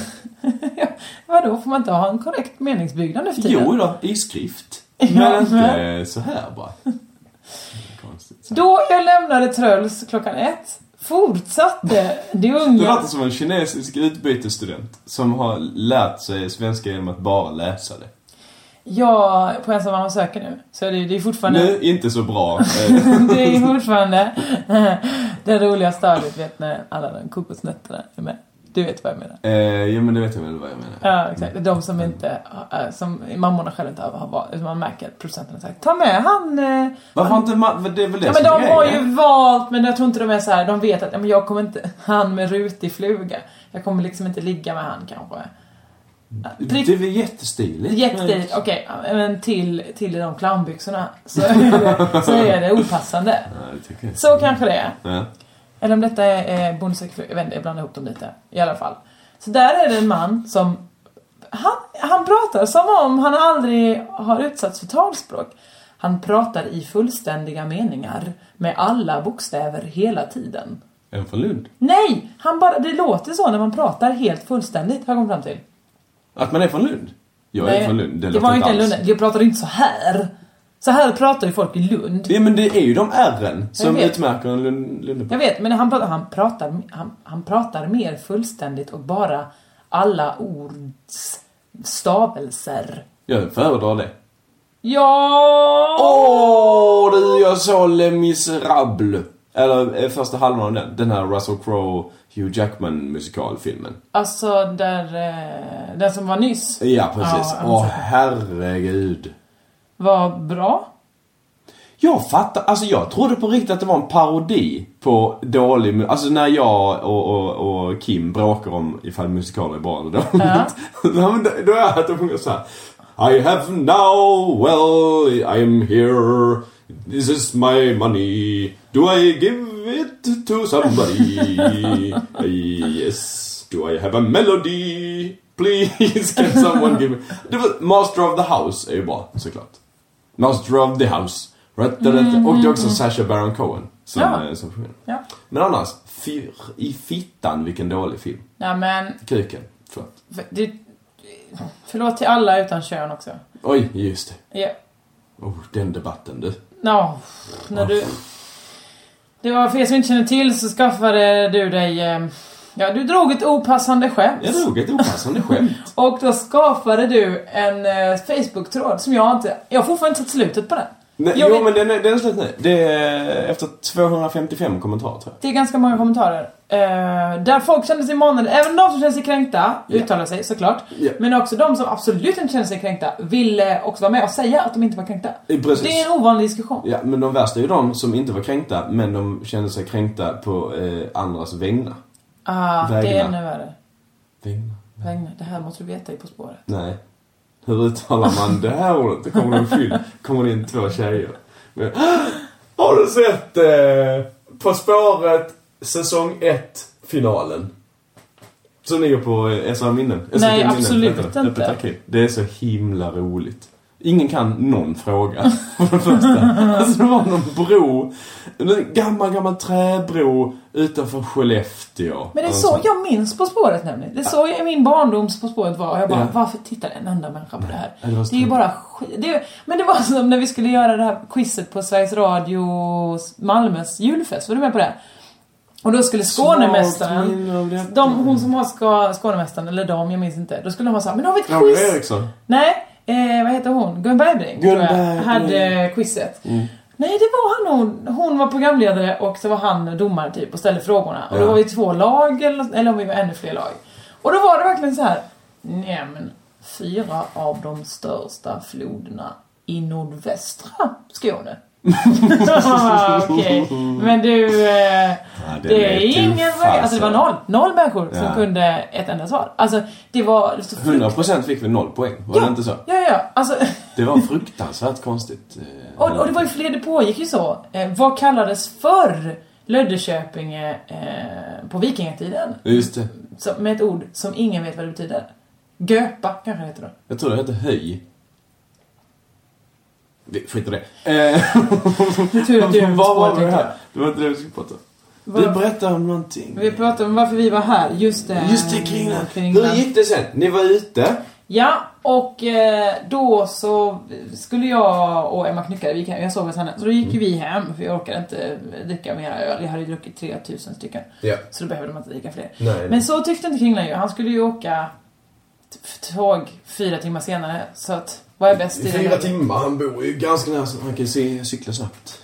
Speaker 6: Vadå, får man inte ha en korrekt meningsbyggnad nu för tiden?
Speaker 5: jo då, i skrift.
Speaker 6: Ja.
Speaker 5: Men inte så här bara. Konstigt. så.
Speaker 6: Då jag lämnade Tröls klockan ett fortsatte de
Speaker 5: Det
Speaker 6: unga...
Speaker 5: låter som en kinesisk utbytesstudent som har lärt sig svenska genom att bara läsa det.
Speaker 6: Ja, på ensam mamma söker nu. Så det, det är fortfarande...
Speaker 5: Nu, inte så bra. Eh,
Speaker 6: Det är fortfarande det roliga stadiet, vet när alla de kokosnötterna är med. Du vet vad jag menar.
Speaker 5: eh, ja men det vet jag väl vad jag menar.
Speaker 6: Ja, exakt. De som inte, äh, som mammorna själva inte har valt, utan man märker att producenten har sagt Ta med han... eh,
Speaker 5: Varför har inte man... Det är väl det
Speaker 6: Ja men
Speaker 5: som är
Speaker 6: de har
Speaker 5: grejen.
Speaker 6: ju valt, men jag tror inte de är så här. de vet att ja, men jag kommer inte, han med rutig fluga, jag kommer liksom inte ligga med han kanske. Prick-
Speaker 5: Det är väl jättestiligt.
Speaker 6: Jättestil, okej, men till, till i de clownbyxorna så är det, så är det opassande.
Speaker 5: Nej, det tycker jag inte.
Speaker 6: Så kanske det är.
Speaker 5: Ja.
Speaker 6: Eller om detta är eh, Bonde söker fru, jag vet inte, jag blandar ihop dem lite. I alla fall. Så där är det en man som, han, han pratar som om han aldrig har utsatts för talspråk. Han pratar i fullständiga meningar med alla bokstäver hela tiden.
Speaker 5: En från Lund.
Speaker 6: Nej! Han bara, det låter så när man pratar helt fullständigt, har jag kommit fram till.
Speaker 5: Att man är från Lund? Jag är från Lund. Det,
Speaker 6: det
Speaker 5: låter
Speaker 6: var ju inte en
Speaker 5: alls.
Speaker 6: Lund. Jag pratade inte så här. Så här pratar ju folk i Lund.
Speaker 5: Ja men det är ju de ärren som
Speaker 6: vet.
Speaker 5: utmärker en Lund, Lundebo.
Speaker 6: Jag vet, men han pratar, han, pratar, han, han pratar mer fullständigt och bara alla ords stavelser.
Speaker 5: Jag föredrar det.
Speaker 6: Ja!
Speaker 5: Åh, du, jag såg Les Misérables. Eller eh, första halvan av den. Den här Russell Crowe, Hugh Jackman musikalfilmen.
Speaker 6: Alltså, där, eh, den som var nyss
Speaker 5: Ja, precis.
Speaker 6: Ja, jag
Speaker 5: Åh,
Speaker 6: minns det.
Speaker 5: herregud.
Speaker 6: var bra.
Speaker 5: Jag fattar, alltså jag trodde på riktigt att det var en parodi på dålig mu- Alltså när jag och, och, och Kim bråkar om ifall musikaler är bra eller dåligt. Ja. men då- då är det att de sjunger såhär. I have now, well, I am here. This is my money. Do I give it to somebody? Eh, yes. Do I have a melody? Please can someone give me... Det var, Master of the House är ju bra, såklart. Master of the House. Rätt, rätt, Och det är också Sasha Baron Cohen som,
Speaker 6: Ja.
Speaker 5: eh, som sjunger.
Speaker 6: Ja.
Speaker 5: Men annars, fyr i fittan vilken dålig film.
Speaker 6: Nej men,
Speaker 5: Kuken, förlåt.
Speaker 6: det, Förlåt till alla utan kön också.
Speaker 5: Oj, just det.
Speaker 6: Ja.
Speaker 5: Oh, den debatten du.
Speaker 6: Ja, när du... Det var för er som inte känner till så skaffade du dig... eh, Ja, du drog ett opassande skämt.
Speaker 5: Jag drog ett opassande skämt.
Speaker 6: Och då skapade du en eh, Facebook-tråd som jag inte... Jag har fortfarande inte sett slutet på den.
Speaker 5: Nej,
Speaker 6: Jag
Speaker 5: jo,
Speaker 6: vet-
Speaker 5: men den är, den är slut nu. Det är efter 255 kommentarer, tror jag.
Speaker 6: Det är ganska många kommentarer. Eh, där folk kände sig manade, även de som kände sig kränkta
Speaker 5: Ja.
Speaker 6: uttalar sig såklart.
Speaker 5: Ja.
Speaker 6: Men också de som absolut inte kände sig kränkta ville också vara med och säga att de inte var kränkta.
Speaker 5: Eh, precis.
Speaker 6: Det är en ovanlig diskussion.
Speaker 5: Ja, men de värsta är ju de som inte var kränkta, men de kände sig kränkta på eh, andras vägnar.
Speaker 6: Ah, det är
Speaker 5: Vägnar.
Speaker 6: ännu värre.
Speaker 5: Vägnar?
Speaker 6: Vägnar. Det här måste du veta i På spåret.
Speaker 5: Nej. Hur uttalar man det här ordet? Det kommer en film, kommer det in två tjejer. Men, har du sett eh, På spåret säsong 1 finalen? Som ligger på eh, SR Minnen. SVT
Speaker 6: Nej,
Speaker 5: Minnen.
Speaker 6: absolut
Speaker 5: Vänta,
Speaker 6: inte.
Speaker 5: öppet arkiv. Det är så himla roligt. Ingen kan någon fråga, för det första. Alltså det var någon bro, en gammal, gammal träbro utanför Skellefteå. Alltså,
Speaker 6: Men det är
Speaker 5: Och
Speaker 6: så
Speaker 5: sånt.
Speaker 6: jag minns På spåret nämligen. Det är så jag- min barndoms På spåret var. Och jag bara,
Speaker 5: Ja.
Speaker 6: varför tittar en enda människa på det här?
Speaker 5: Ja, det var så
Speaker 6: det är ju
Speaker 5: tråkigt.
Speaker 6: bara skit. Det är, Men det var som när vi skulle göra det här quizet på Sveriges Radio Malmös julfest. Var du med på det? Och då skulle
Speaker 5: Svagt
Speaker 6: Skånemästaren,
Speaker 5: minne av detta.
Speaker 6: de, hon som har ska, Skånemästaren, eller de, jag minns inte. Då skulle de ha såhär, men har vi ett
Speaker 5: Laura
Speaker 6: quiz?
Speaker 5: Eriksson.
Speaker 6: Nej, eh, vad heter hon? Gun Bergbrink,
Speaker 5: Gun
Speaker 6: tror jag,
Speaker 5: Bergbrink.
Speaker 6: hade eh, quizet.
Speaker 5: Mm.
Speaker 6: Nej, det var han hon. Hon var programledare och så var han domare typ och ställde frågorna. Och då
Speaker 5: Ja.
Speaker 6: var vi två lag, eller, eller om vi var ännu fler lag. Och då var det verkligen så här. Nej men, fyra av de största floderna i nordvästra Skåne. Ah, Okej, men du... Eh,
Speaker 5: den
Speaker 6: det är
Speaker 5: är tuff,
Speaker 6: ingen... Alltså det var
Speaker 5: alltså.
Speaker 6: noll, noll människor som
Speaker 5: Ja.
Speaker 6: kunde ett enda svar. Alltså det var... Så
Speaker 5: 100% fick vi noll poäng, var det inte så?
Speaker 6: Ja, ja, ja. Alltså,
Speaker 5: Det var fruktansvärt konstigt. eh,
Speaker 6: och, och det var ju fler, det pågick ju så. Eh, vad kallades förr Löddeköpinge eh, på vikingatiden?
Speaker 5: Just det.
Speaker 6: Så, med ett ord som ingen vet vad det betyder. Göpa kanske det heter då.
Speaker 5: Jag tror det hette höj. Det- Skit i det. Eh,
Speaker 6: Det är tur att du är på
Speaker 5: vad var
Speaker 6: spåret,
Speaker 5: det
Speaker 6: tänkte
Speaker 5: här? Det var inte det vi skulle prata om.
Speaker 6: Vad-
Speaker 5: Du berättade om någonting.
Speaker 6: jag. Vi pratade om varför vi var här. Just eh, det.
Speaker 5: Just det, kringlan.
Speaker 6: Kringlan.
Speaker 5: Hur gick det sen? Ni var ute?
Speaker 6: Ja, och eh, då så skulle jag och Emma Knyckare, vi gick hem, jag sov hos henne, så då gick ju vi hem för jag orkade inte dricka mer öl. Jag hade ju druckit 3000 stycken.
Speaker 5: Ja.
Speaker 6: Så då behövde man inte dricka fler.
Speaker 5: Nej, nej.
Speaker 6: Men så tyckte inte Kringlan ju. Han skulle ju åka t- f- tåg fyra timmar senare. Så att, vad är bäst i det läget?
Speaker 5: timmar. Han bor ju ganska nära så han kan se, cykla snabbt.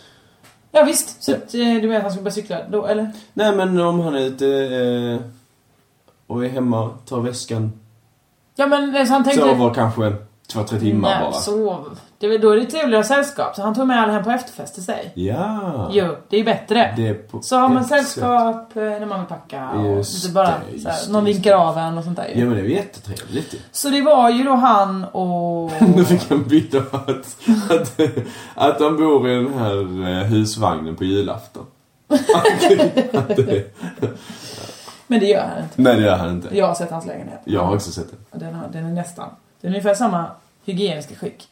Speaker 6: Ja visst, så att, eh, du menar att han skulle börja cykla då, eller?
Speaker 5: Nej men om han är ute eh, och är hemma, tar väskan,
Speaker 6: Ja men eh, så han tänkte...
Speaker 5: sover kanske två, tre timmar
Speaker 6: Nej,
Speaker 5: bara.
Speaker 6: sov. Det, är väl- då är det trevligare sällskap. Så han tog med alla hem på efterfest till sig.
Speaker 5: Ja.
Speaker 6: Jo, det är ju bättre.
Speaker 5: Det är på
Speaker 6: Så har man
Speaker 5: ett
Speaker 6: sällskap eh, när man vill packa och
Speaker 5: Just
Speaker 6: lite bara
Speaker 5: det,
Speaker 6: så här,
Speaker 5: just
Speaker 6: någon
Speaker 5: det,
Speaker 6: vinkar av en och sånt där ju.
Speaker 5: Ja men det är ju jättetrevligt ju.
Speaker 6: Så det var ju då han och...
Speaker 5: Nu fick han byta att, att, att han bor i den här eh, husvagnen på julafton. Att, att, det-
Speaker 6: Men det gör han inte.
Speaker 5: nej det gör han inte.
Speaker 6: Jag har sett hans lägenhet.
Speaker 5: Jag har också sett det.
Speaker 6: Och Den, har, den är nästan... Den är ungefär samma hygieniska skick.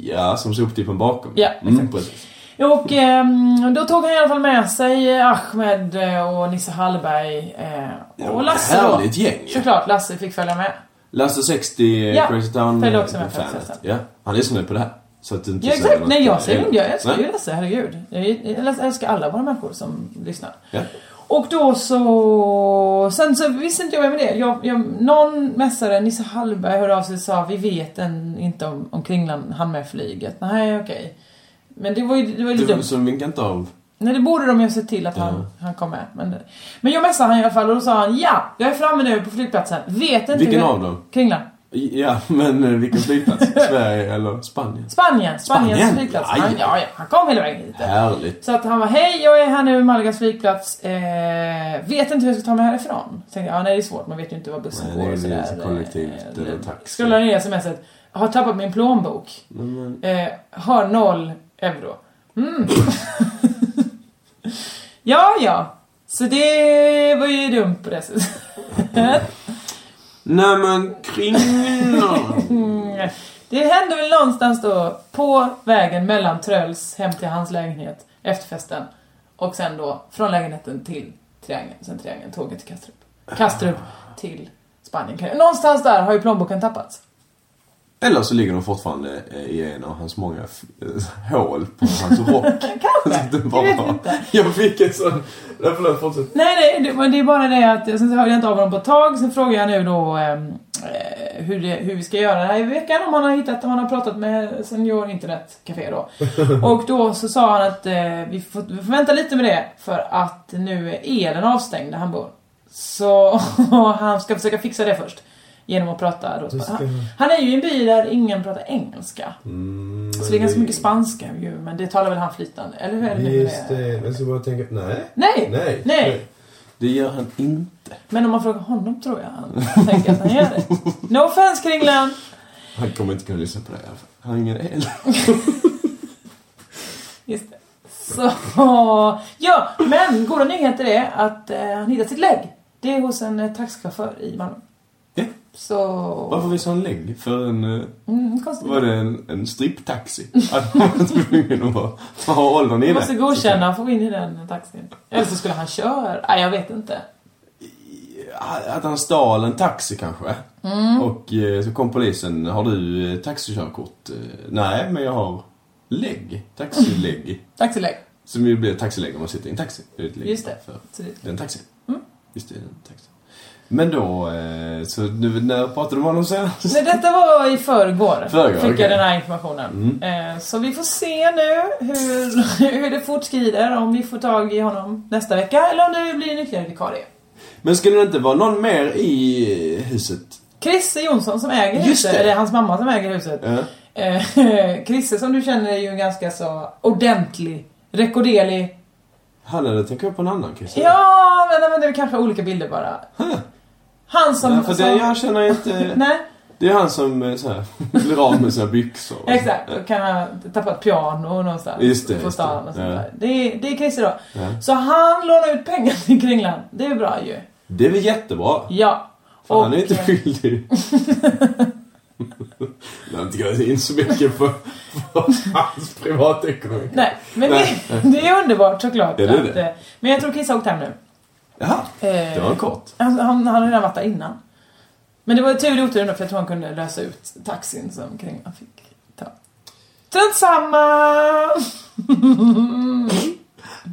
Speaker 5: Ja, som soptippen bakom.
Speaker 6: Ja,
Speaker 5: mm, precis.
Speaker 6: Och ehm, då tog han i alla fall med sig Ahmed eh, och Nisse Hallberg eh,
Speaker 5: Ja,
Speaker 6: och
Speaker 5: vad
Speaker 6: Lasse då.
Speaker 5: härligt gäng, ja.
Speaker 6: Såklart, Lasse fick följa med.
Speaker 5: Lasse 60, eh,
Speaker 6: Ja,
Speaker 5: Crazy Town
Speaker 6: följde också med
Speaker 5: eh,
Speaker 6: på festen.
Speaker 5: Ja, han lyssnar nu på det här. Så att du inte
Speaker 6: Ja
Speaker 5: säger
Speaker 6: exakt,
Speaker 5: något
Speaker 6: nej jag
Speaker 5: fel.
Speaker 6: säger inte, jag älskar
Speaker 5: Nej.
Speaker 6: ju Lasse, herregud. Jag, jag älskar alla våra människor som lyssnar.
Speaker 5: Ja.
Speaker 6: Och då så... Sen så visste inte jag vem det är. Jag, jag, någon mässare, Nisse Hallberg, hörde av sig och sa vi vet en, inte om, om Kringlan hann med flyget. Nej okej. Men det var ju, det var ju lite
Speaker 5: Du
Speaker 6: dumt.
Speaker 5: som vinkar inte av.
Speaker 6: Nej det borde de ju ha sett till att han, han kom med. Men, men jag mässade han i alla fall och då sa han ja, jag är framme nu på flygplatsen. Vet inte
Speaker 5: Vilken
Speaker 6: vem-
Speaker 5: av dem?
Speaker 6: Kringlan.
Speaker 5: Ja, men eh, vilken flygplats? Sverige eller Spanien?
Speaker 6: Spanien, Spaniens
Speaker 5: Spanien?
Speaker 6: flygplats.
Speaker 5: Ja,
Speaker 6: Han, ja, ja, han kom hela vägen hit.
Speaker 5: Härligt.
Speaker 6: Så att han var hej jag är här nu vid Malagas flygplats, eh, vet inte hur jag ska ta mig härifrån. Så tänkte jag, ja nej det är svårt, man vet ju inte var bussen
Speaker 5: Nej,
Speaker 6: går
Speaker 5: det
Speaker 6: och
Speaker 5: är
Speaker 6: sådär. Eh,
Speaker 5: lite kollektivt eller taxi.
Speaker 6: Skulle ner smset, har tappat min plånbok.
Speaker 5: Mm,
Speaker 6: Eh, har noll euro. Mm. ja, ja. Så det var ju dumt på det sättet.
Speaker 5: Nej men kringlan.
Speaker 6: Det hände väl någonstans då på vägen mellan Tröls hem till hans lägenhet efter festen och sen då från lägenheten till Triangeln, sen Triangeln, tåget till Kastrup. Kastrup till Spanien kan Någonstans där har ju plånboken tappats.
Speaker 5: Eller så ligger de fortfarande eh, i en av hans många f- eh, hål på hans rock.
Speaker 6: Kanske.
Speaker 5: Det
Speaker 6: Jag vet inte.
Speaker 5: Jag fick en sån... Nej, förlåt, fortsätt.
Speaker 6: Nej, nej, det, men det är bara det att sen så hörde jag inte av honom på ett tag. Sen frågar jag nu då ehm, eh, hur, det, hur vi ska göra den här veckan. Om han har hittat, om han har pratat med Senior Internetcafé då. Och då så sa han att eh, vi, får, vi får vänta lite med det för att nu är elen avstängd där han bor. Så han ska försöka fixa det först. Genom att prata då. Han, han är ju i en by där ingen pratar engelska. så Mm, det är ganska mycket spanska ju, men det talar väl han flytande? Eller hur är det nu med
Speaker 2: Just det. Jag ska bara tänka... Nej.
Speaker 6: Nej!
Speaker 2: Nej.
Speaker 6: Nej!
Speaker 5: Det gör han inte.
Speaker 6: Men om man frågar honom tror jag han tänker att han gör det. No offense Kringlan!
Speaker 5: Han kommer inte kunna lyssna på det i alla fall. Han har ingen el.
Speaker 6: Just det. Så, ja, men goda nyheter är att eh, han hittat sitt lägg. Det är hos en eh, taxichaufför i Malmö.
Speaker 5: Ja.
Speaker 6: Så...
Speaker 5: Varför visade han lägg? För en... eh,
Speaker 6: Mm, konstigt.
Speaker 5: Var det en, en stripptaxi? Att man var tvungen att ha- ha åldern
Speaker 6: Du
Speaker 5: inne.
Speaker 6: måste godkänna att få gå in i den taxin. Eller så skulle han köra. Nej, jag vet inte.
Speaker 5: Ah, Att han stal en taxi kanske.
Speaker 6: Mm.
Speaker 5: Och eh, så kom polisen. Har du eh, taxikörkort? Eh, Nej, men jag har lägg.
Speaker 6: Mm.
Speaker 5: Taxilägg.
Speaker 6: Taxilägg.
Speaker 5: Som ju blir taxilägg om man sitter i en taxi. Det är ett lägg
Speaker 6: Just det.
Speaker 5: För
Speaker 6: Så det- Mm.
Speaker 5: det är en taxi. Just det, det är en taxi. Men då, eh, så nu, när pratade du med honom senast?
Speaker 6: Nej, detta var i förrgår.
Speaker 5: Förrgår,
Speaker 6: fick
Speaker 5: okej. Mm.
Speaker 6: jag den här informationen. Eh, så vi får se nu hur, hur det fortskrider. Om vi får tag i honom nästa vecka eller om det blir en ytterligare vikarie.
Speaker 5: Men skulle det inte vara någon mer i eh, huset?
Speaker 6: Chrisse Jonsson som äger
Speaker 5: Just
Speaker 6: huset,
Speaker 5: det.
Speaker 6: eller det är hans mamma som äger huset. Eh, Chrisse som du känner är ju en ganska så ordentlig, rekorderlig.
Speaker 5: Hallå, då tänker jag på en annan Christer.
Speaker 6: Ja, men, men det är kanske olika bilder bara. Han som...
Speaker 5: Nej, för det,
Speaker 6: som-
Speaker 5: jag känner inte...
Speaker 6: alltså- Nej,
Speaker 5: Det är han som eh, så här, blir av med sina byxor.
Speaker 6: exakt. Då kan han tappa ett piano någonstans
Speaker 5: Just det,
Speaker 6: på
Speaker 5: just
Speaker 6: stan
Speaker 5: det.
Speaker 6: och sånt
Speaker 5: Ja.
Speaker 6: där. Det, är- det är Chrisse då.
Speaker 5: Ja.
Speaker 6: Så han lånar ut pengar till Kringlan. Det är bra ju.
Speaker 5: Det är väl jättebra?
Speaker 6: Ja.
Speaker 5: Fan, han är
Speaker 6: Och,
Speaker 5: inte
Speaker 6: eh,
Speaker 5: skyldig. Jag har inte gått in så mycket på, på hans privatekonomi.
Speaker 6: Nej, men
Speaker 5: Nej.
Speaker 6: det, det är underbart såklart.
Speaker 5: Ja, det är det.
Speaker 6: eh, Men jag tror Chrisse har åkt hem nu.
Speaker 5: Jaha,
Speaker 6: Eh,
Speaker 5: det var en kort.
Speaker 6: Han, han, han hade redan varit där innan. Men det var ju tur i oturen då, för jag tror han kunde lösa ut taxin som Kringlan fick ta. Strunt samma!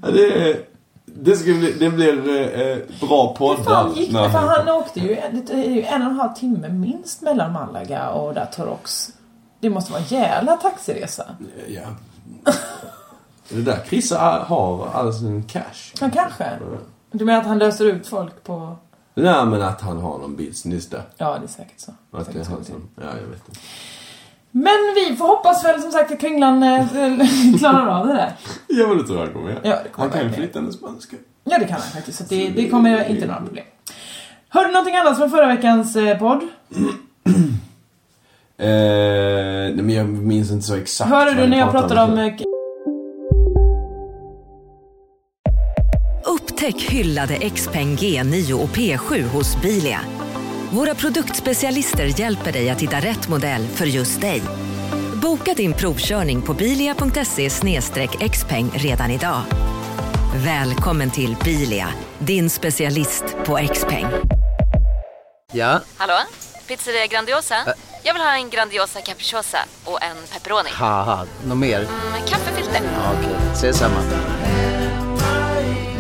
Speaker 5: Ja, det, det, ska bli, det blir eh, bra
Speaker 6: Hur fan
Speaker 5: poddar.
Speaker 6: gick
Speaker 5: när
Speaker 6: det? För han
Speaker 5: kommer.
Speaker 6: åkte ju, det är ju en och en halv timme minst mellan Malaga och där Torox. Det måste vara en jävla taxiresa.
Speaker 5: Eh, Ja. Det är där Chris har all sin cash.
Speaker 6: Men kanske. Du menar att han löser ut folk på...
Speaker 5: Nej, men att han har någon business där.
Speaker 6: Ja, det är säkert så.
Speaker 5: Att det är
Speaker 6: Säkert
Speaker 5: han
Speaker 6: så.
Speaker 5: som... Ja, jag vet inte.
Speaker 6: Men vi får hoppas väl som sagt att Kringlan eh, klarar av det där.
Speaker 5: Jag vill inte röra mig.
Speaker 6: Ja, det kommer
Speaker 5: Han kan ju
Speaker 6: verkligen.
Speaker 5: flytta en spanska.
Speaker 6: Ja, det kan han faktiskt. Så det, det kommer inte några problem. Hörde du någonting annat från förra veckans eh, podd?
Speaker 5: Eh, nej, men jag minns inte så exakt.
Speaker 6: Hörde
Speaker 5: vad
Speaker 6: du
Speaker 5: vi
Speaker 6: när jag pratade om... eh,
Speaker 7: Upptäck hyllade XPeng G9 och P7 hos Bilia. Våra produktspecialister hjälper dig att hitta rätt modell för just dig. Boka din provkörning på bilia.se xpeng redan idag. Välkommen till Bilia, din specialist på XPeng.
Speaker 8: Ja,
Speaker 9: Hallå? Pizzeria Grandiosa? Jag vill ha en Grandiosa capriciosa och en pepperoni.
Speaker 8: haha, något mer?
Speaker 9: Med kaffefilter.
Speaker 8: Ja, Okej, ses samma.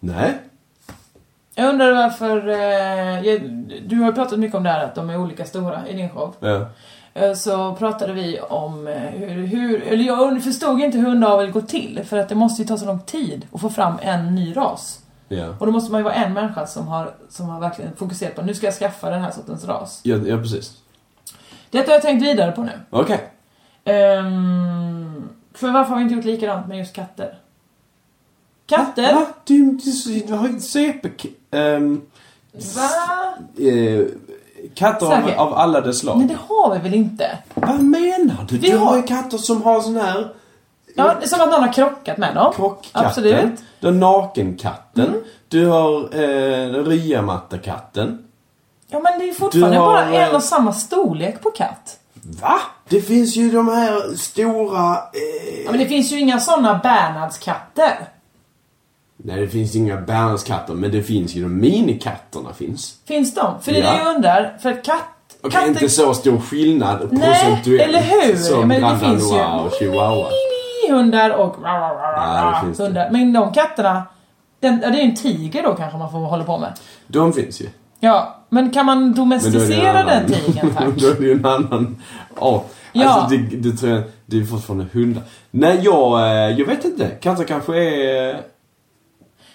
Speaker 5: Nej.
Speaker 6: Jag undrar varför... Eh, jag, du har ju pratat mycket om det här att de är olika stora i din show.
Speaker 5: Ja.
Speaker 6: Eh, Så pratade vi om eh, hur, hur eller jag und- förstod inte hur hundavel går till för att det måste ju ta så lång tid att få fram en ny ras.
Speaker 5: Ja.
Speaker 6: Och då måste man ju vara en människa som har, som har verkligen fokuserat på nu ska jag skaffa den här sortens ras.
Speaker 5: Ja, ja, precis.
Speaker 6: Detta har jag tänkt vidare på nu.
Speaker 5: Okej.
Speaker 6: Ehm, för varför har vi inte gjort likadant med just katter? Katter?
Speaker 5: Ah, Va? Du, du, du har ju inte CP... ehm,
Speaker 6: Va?
Speaker 5: Eh, katter av,
Speaker 6: Säkert.
Speaker 5: av alla dess slag.
Speaker 6: Men det har vi väl inte?
Speaker 5: Vad menar du?
Speaker 6: Vi
Speaker 5: du har
Speaker 6: har-
Speaker 5: ju katter som har sån här...
Speaker 6: Ja, det är som att någon har krockat med dem.
Speaker 5: Katten,
Speaker 6: Absolut. Mm.
Speaker 5: Du har nakenkatten. Du har eh, ryamattekatten.
Speaker 6: Ja, men det är ju fortfarande
Speaker 5: Du har,
Speaker 6: bara en
Speaker 5: eh,
Speaker 6: och samma storlek på katt.
Speaker 5: Va? Det finns ju de här stora... Eh...
Speaker 6: Ja, men det finns ju inga såna Bernhardskatter.
Speaker 5: Nej, det finns inga Bernhardskatter, men det finns ju de minikatterna finns.
Speaker 6: Finns de? För det är
Speaker 5: Ja.
Speaker 6: det jag undrar. För katt...
Speaker 5: Okej, inte så stor skillnad
Speaker 6: Nej,
Speaker 5: procentuellt
Speaker 6: eller hur?
Speaker 5: som
Speaker 6: Men det
Speaker 5: Grand
Speaker 6: finns ju-
Speaker 5: Danois och chihuahua.
Speaker 6: hundar och
Speaker 5: Ja, det finns det.
Speaker 6: hundar. Men de katterna, den, ja, det är ju en tiger då kanske man får hålla på med.
Speaker 5: De finns ju.
Speaker 6: Ja, men kan man
Speaker 5: Men då är det en
Speaker 6: domesticera
Speaker 5: annan-
Speaker 6: den tigern tack?
Speaker 5: då är det ju en annan art.
Speaker 6: Ja.
Speaker 5: Alltså, det, det tror jag, det är fortfarande hundar. Nej, jag, eh, jag vet inte. Katter kanske är... eh,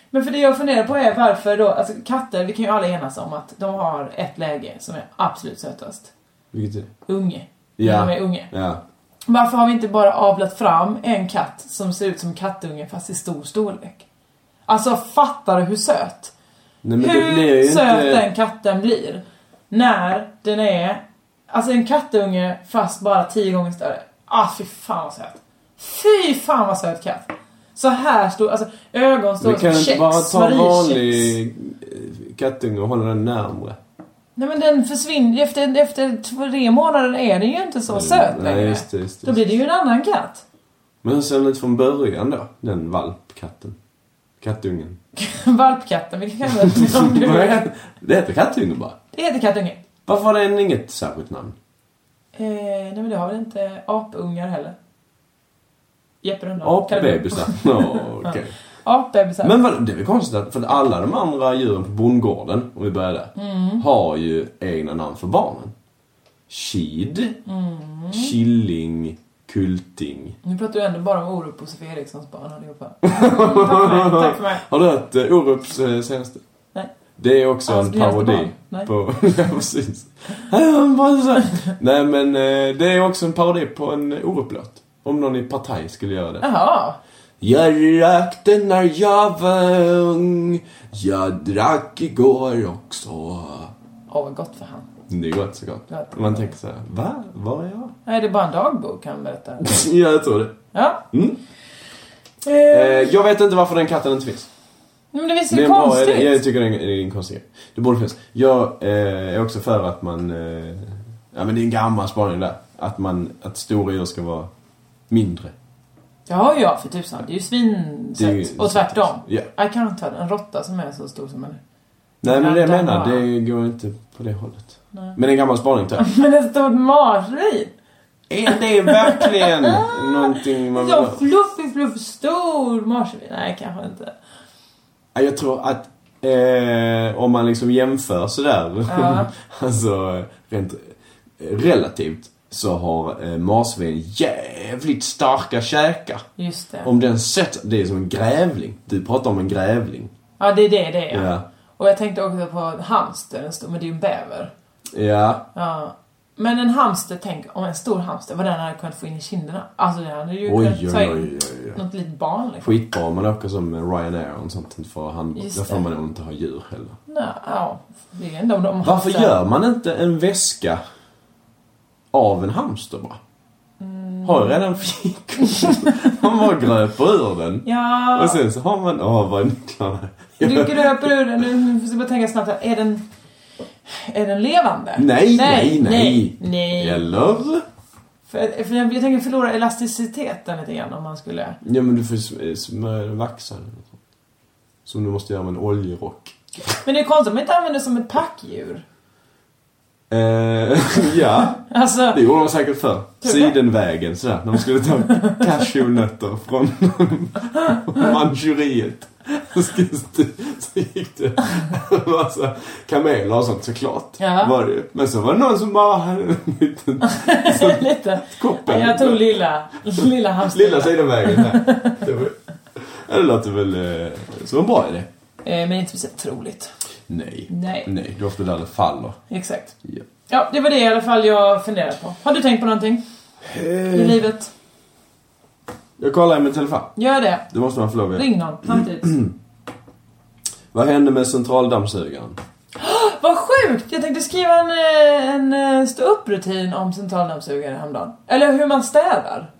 Speaker 6: Men för det jag funderar på är varför då, alltså katter, vi kan ju alla enas om att de har ett läge som är absolut sötast.
Speaker 5: Vilket är det?
Speaker 6: Unge.
Speaker 5: Ja.
Speaker 6: När de är unge.
Speaker 5: Ja.
Speaker 6: Varför har vi inte bara avlat fram en katt som ser ut som kattunge fast i stor storlek? Alltså fattar du hur söt?
Speaker 5: Nej, men
Speaker 6: hur
Speaker 5: det blir ju
Speaker 6: söt den
Speaker 5: inte...
Speaker 6: katten blir när den är, alltså en kattunge fast bara tio gånger större. Ah fy fan vad söt. Fy fan vad söt katt. Så här stor, alltså ögon
Speaker 5: Vi
Speaker 6: stora
Speaker 5: kan
Speaker 6: som
Speaker 5: inte
Speaker 6: kex,
Speaker 5: bara ta en
Speaker 6: Mariekex.
Speaker 5: vanlig eh, kattunge och hålla den närmre.
Speaker 6: Nej men den försvinner, efter, efter tre månader är den ju inte så söt
Speaker 5: Mm. Nej,
Speaker 6: längre.
Speaker 5: just det, just det.
Speaker 6: Då blir det ju en annan katt.
Speaker 5: Men hur ser den ut från början då? Den valpkatten? Kattungen?
Speaker 6: Valpkatten, vi kan kalla den om du
Speaker 5: Vad
Speaker 6: vill.
Speaker 5: är- det heter kattunge bara.
Speaker 6: Det heter kattunge.
Speaker 5: Varför har den inget särskilt namn?
Speaker 6: Eh, nej men det har väl inte apungar heller? Jeppe Rönndahl.
Speaker 5: Apbebisar? Oh,
Speaker 6: Apbebisar.
Speaker 5: Men vad, det är väl konstigt att, för att alla de andra djuren på bondgården, om vi börjar där,
Speaker 6: Mm.
Speaker 5: har ju egna namn för barnen. Kid,
Speaker 6: Mm.
Speaker 5: killing, kulting.
Speaker 6: Nu pratar du ändå bara om Orup och Sofia Erikssons barn allihopa. Mm, tack för mig, tack för mig.
Speaker 5: Har du hört eh, Orups eh, senaste?
Speaker 6: Nej.
Speaker 5: Det är också
Speaker 6: Hans
Speaker 5: en
Speaker 6: nyaste
Speaker 5: parodi.
Speaker 6: barn? Nej.
Speaker 5: På, ja, precis. Han bara så här. Nej men eh, det är också en parodi på en Orup-låt. Om någon i partaj skulle göra det.
Speaker 6: Jaha.
Speaker 5: Jag rökte när jag var ung. Jag drack igår också.
Speaker 6: Åh vad gott för han.
Speaker 5: Det är gott så gott.
Speaker 6: Ja.
Speaker 5: Man tänker så här, va? Var är jag?
Speaker 6: Nej det är bara en dagbok han berättar.
Speaker 5: ja, jag tror det.
Speaker 6: Ja.
Speaker 5: Mm.
Speaker 6: Eh,
Speaker 5: Eh, jag vet inte varför den katten inte finns.
Speaker 6: men det visst är
Speaker 5: Det är en
Speaker 6: det
Speaker 5: bra,
Speaker 6: konstigt?
Speaker 5: jag, jag tycker det är en- det är en konstig grej. Det borde finnas. Jag eh, är också för att man... Eh, ja men det är en gammal spaning där. Att, man, att stora djur ska vara mindre.
Speaker 6: Ja, ja, för tusan. Det är ju
Speaker 5: Det är ju
Speaker 6: svinsött. Och tvärtom.
Speaker 5: Ja.
Speaker 6: Jag kan inte ha en råtta som är så stor som en...
Speaker 5: Nej men det jag
Speaker 6: Vänta
Speaker 5: menar,
Speaker 6: bara.
Speaker 5: det går inte på det hållet.
Speaker 6: Nej.
Speaker 5: Men det är en gammal spaning tror jag.
Speaker 6: Men ett stort marsvin!
Speaker 5: Är det verkligen någonting man vill
Speaker 6: Så
Speaker 5: ha?
Speaker 6: fluffig, fluffig, stor marsvin. Nej, kanske inte.
Speaker 5: Ja, Jag tror att eh, om man liksom jämför sådär,
Speaker 6: Ja.
Speaker 5: alltså eh, rent eh, relativt, så har eh, marsvin jävligt starka käkar.
Speaker 6: Just det.
Speaker 5: Om den sätter, det är som en grävling. Du pratar om en grävling.
Speaker 6: Ja, det är det det är.
Speaker 5: Ja.
Speaker 6: Och jag tänkte också på hamster, en stor, men det är ju en bäver.
Speaker 5: Ja.
Speaker 6: Ja. Men en hamster, tänk om en stor hamster, vad den hade kunnat få in i kinderna. Alltså den hade ju
Speaker 5: Oj,
Speaker 6: kunnat ta
Speaker 5: oj,
Speaker 6: in
Speaker 5: oj, oj, oj.
Speaker 6: något litet barn liksom.
Speaker 5: Skitbra om man åker som med Ryanair och sånt. Inte får hand,
Speaker 6: Just
Speaker 5: där får
Speaker 6: det.
Speaker 5: man nog inte ha djur heller.
Speaker 6: Nej, ja. Det är ändå om de har
Speaker 5: Varför
Speaker 6: hamster.
Speaker 5: gör man inte en väska av en hamster bara?
Speaker 6: Mm.
Speaker 5: Har ju redan fickor. man bara gröper ur den.
Speaker 6: Ja.
Speaker 5: Och sen så har man, åh vad är nycklarna?
Speaker 6: Du gröper ur den, nu måste jag bara tänka snabbt här. Är den... Är den levande?
Speaker 5: Nej, nej, nej.
Speaker 6: Nej, nej.
Speaker 5: Eller?
Speaker 6: För, för jag, jag tänker förlora elasticiteten lite grann om man skulle...
Speaker 5: Ja men du får ju sm- smörja den vaxad eller något sånt. Som du måste göra med en oljerock.
Speaker 6: Men det är konstigt om man inte använder det som ett packdjur.
Speaker 5: Eh, ja,
Speaker 6: Alltså,
Speaker 5: det gjorde de säkert förr.
Speaker 6: Tror du det?
Speaker 5: Sidenvägen sådär, när de skulle ta cashewnötter från Manchuriet. Så sk- Så gick det massa kameler och sånt såklart.
Speaker 6: Ja.
Speaker 5: Var det. ju. Men så var det någon som bara hade en liten
Speaker 6: lite.
Speaker 5: koppel.
Speaker 6: Jag tog lilla, lilla hamster.
Speaker 5: Lilla sidenvägen där. Det, var, ja, det låter väl eh, som en bra idé.
Speaker 6: Eh, men inte speciellt troligt.
Speaker 5: Nej.
Speaker 6: Nej.
Speaker 5: Nej, det är ofta där det faller.
Speaker 6: Exakt.
Speaker 5: Ja.
Speaker 6: Ja, det var det i alla fall jag funderade på. Har du tänkt på någonting?
Speaker 5: Eh.
Speaker 6: I livet?
Speaker 5: Jag kollar i min telefon.
Speaker 6: Gör det.
Speaker 5: Det måste man få lov att göra.
Speaker 6: Ring någon samtidigt.
Speaker 5: Vad hände med centraldammsugaren?
Speaker 6: sjukt! Jag tänkte skriva en, eh, en eh, stå-upp-rutin om centraldammsugare häromdagen. Eller hur man städar.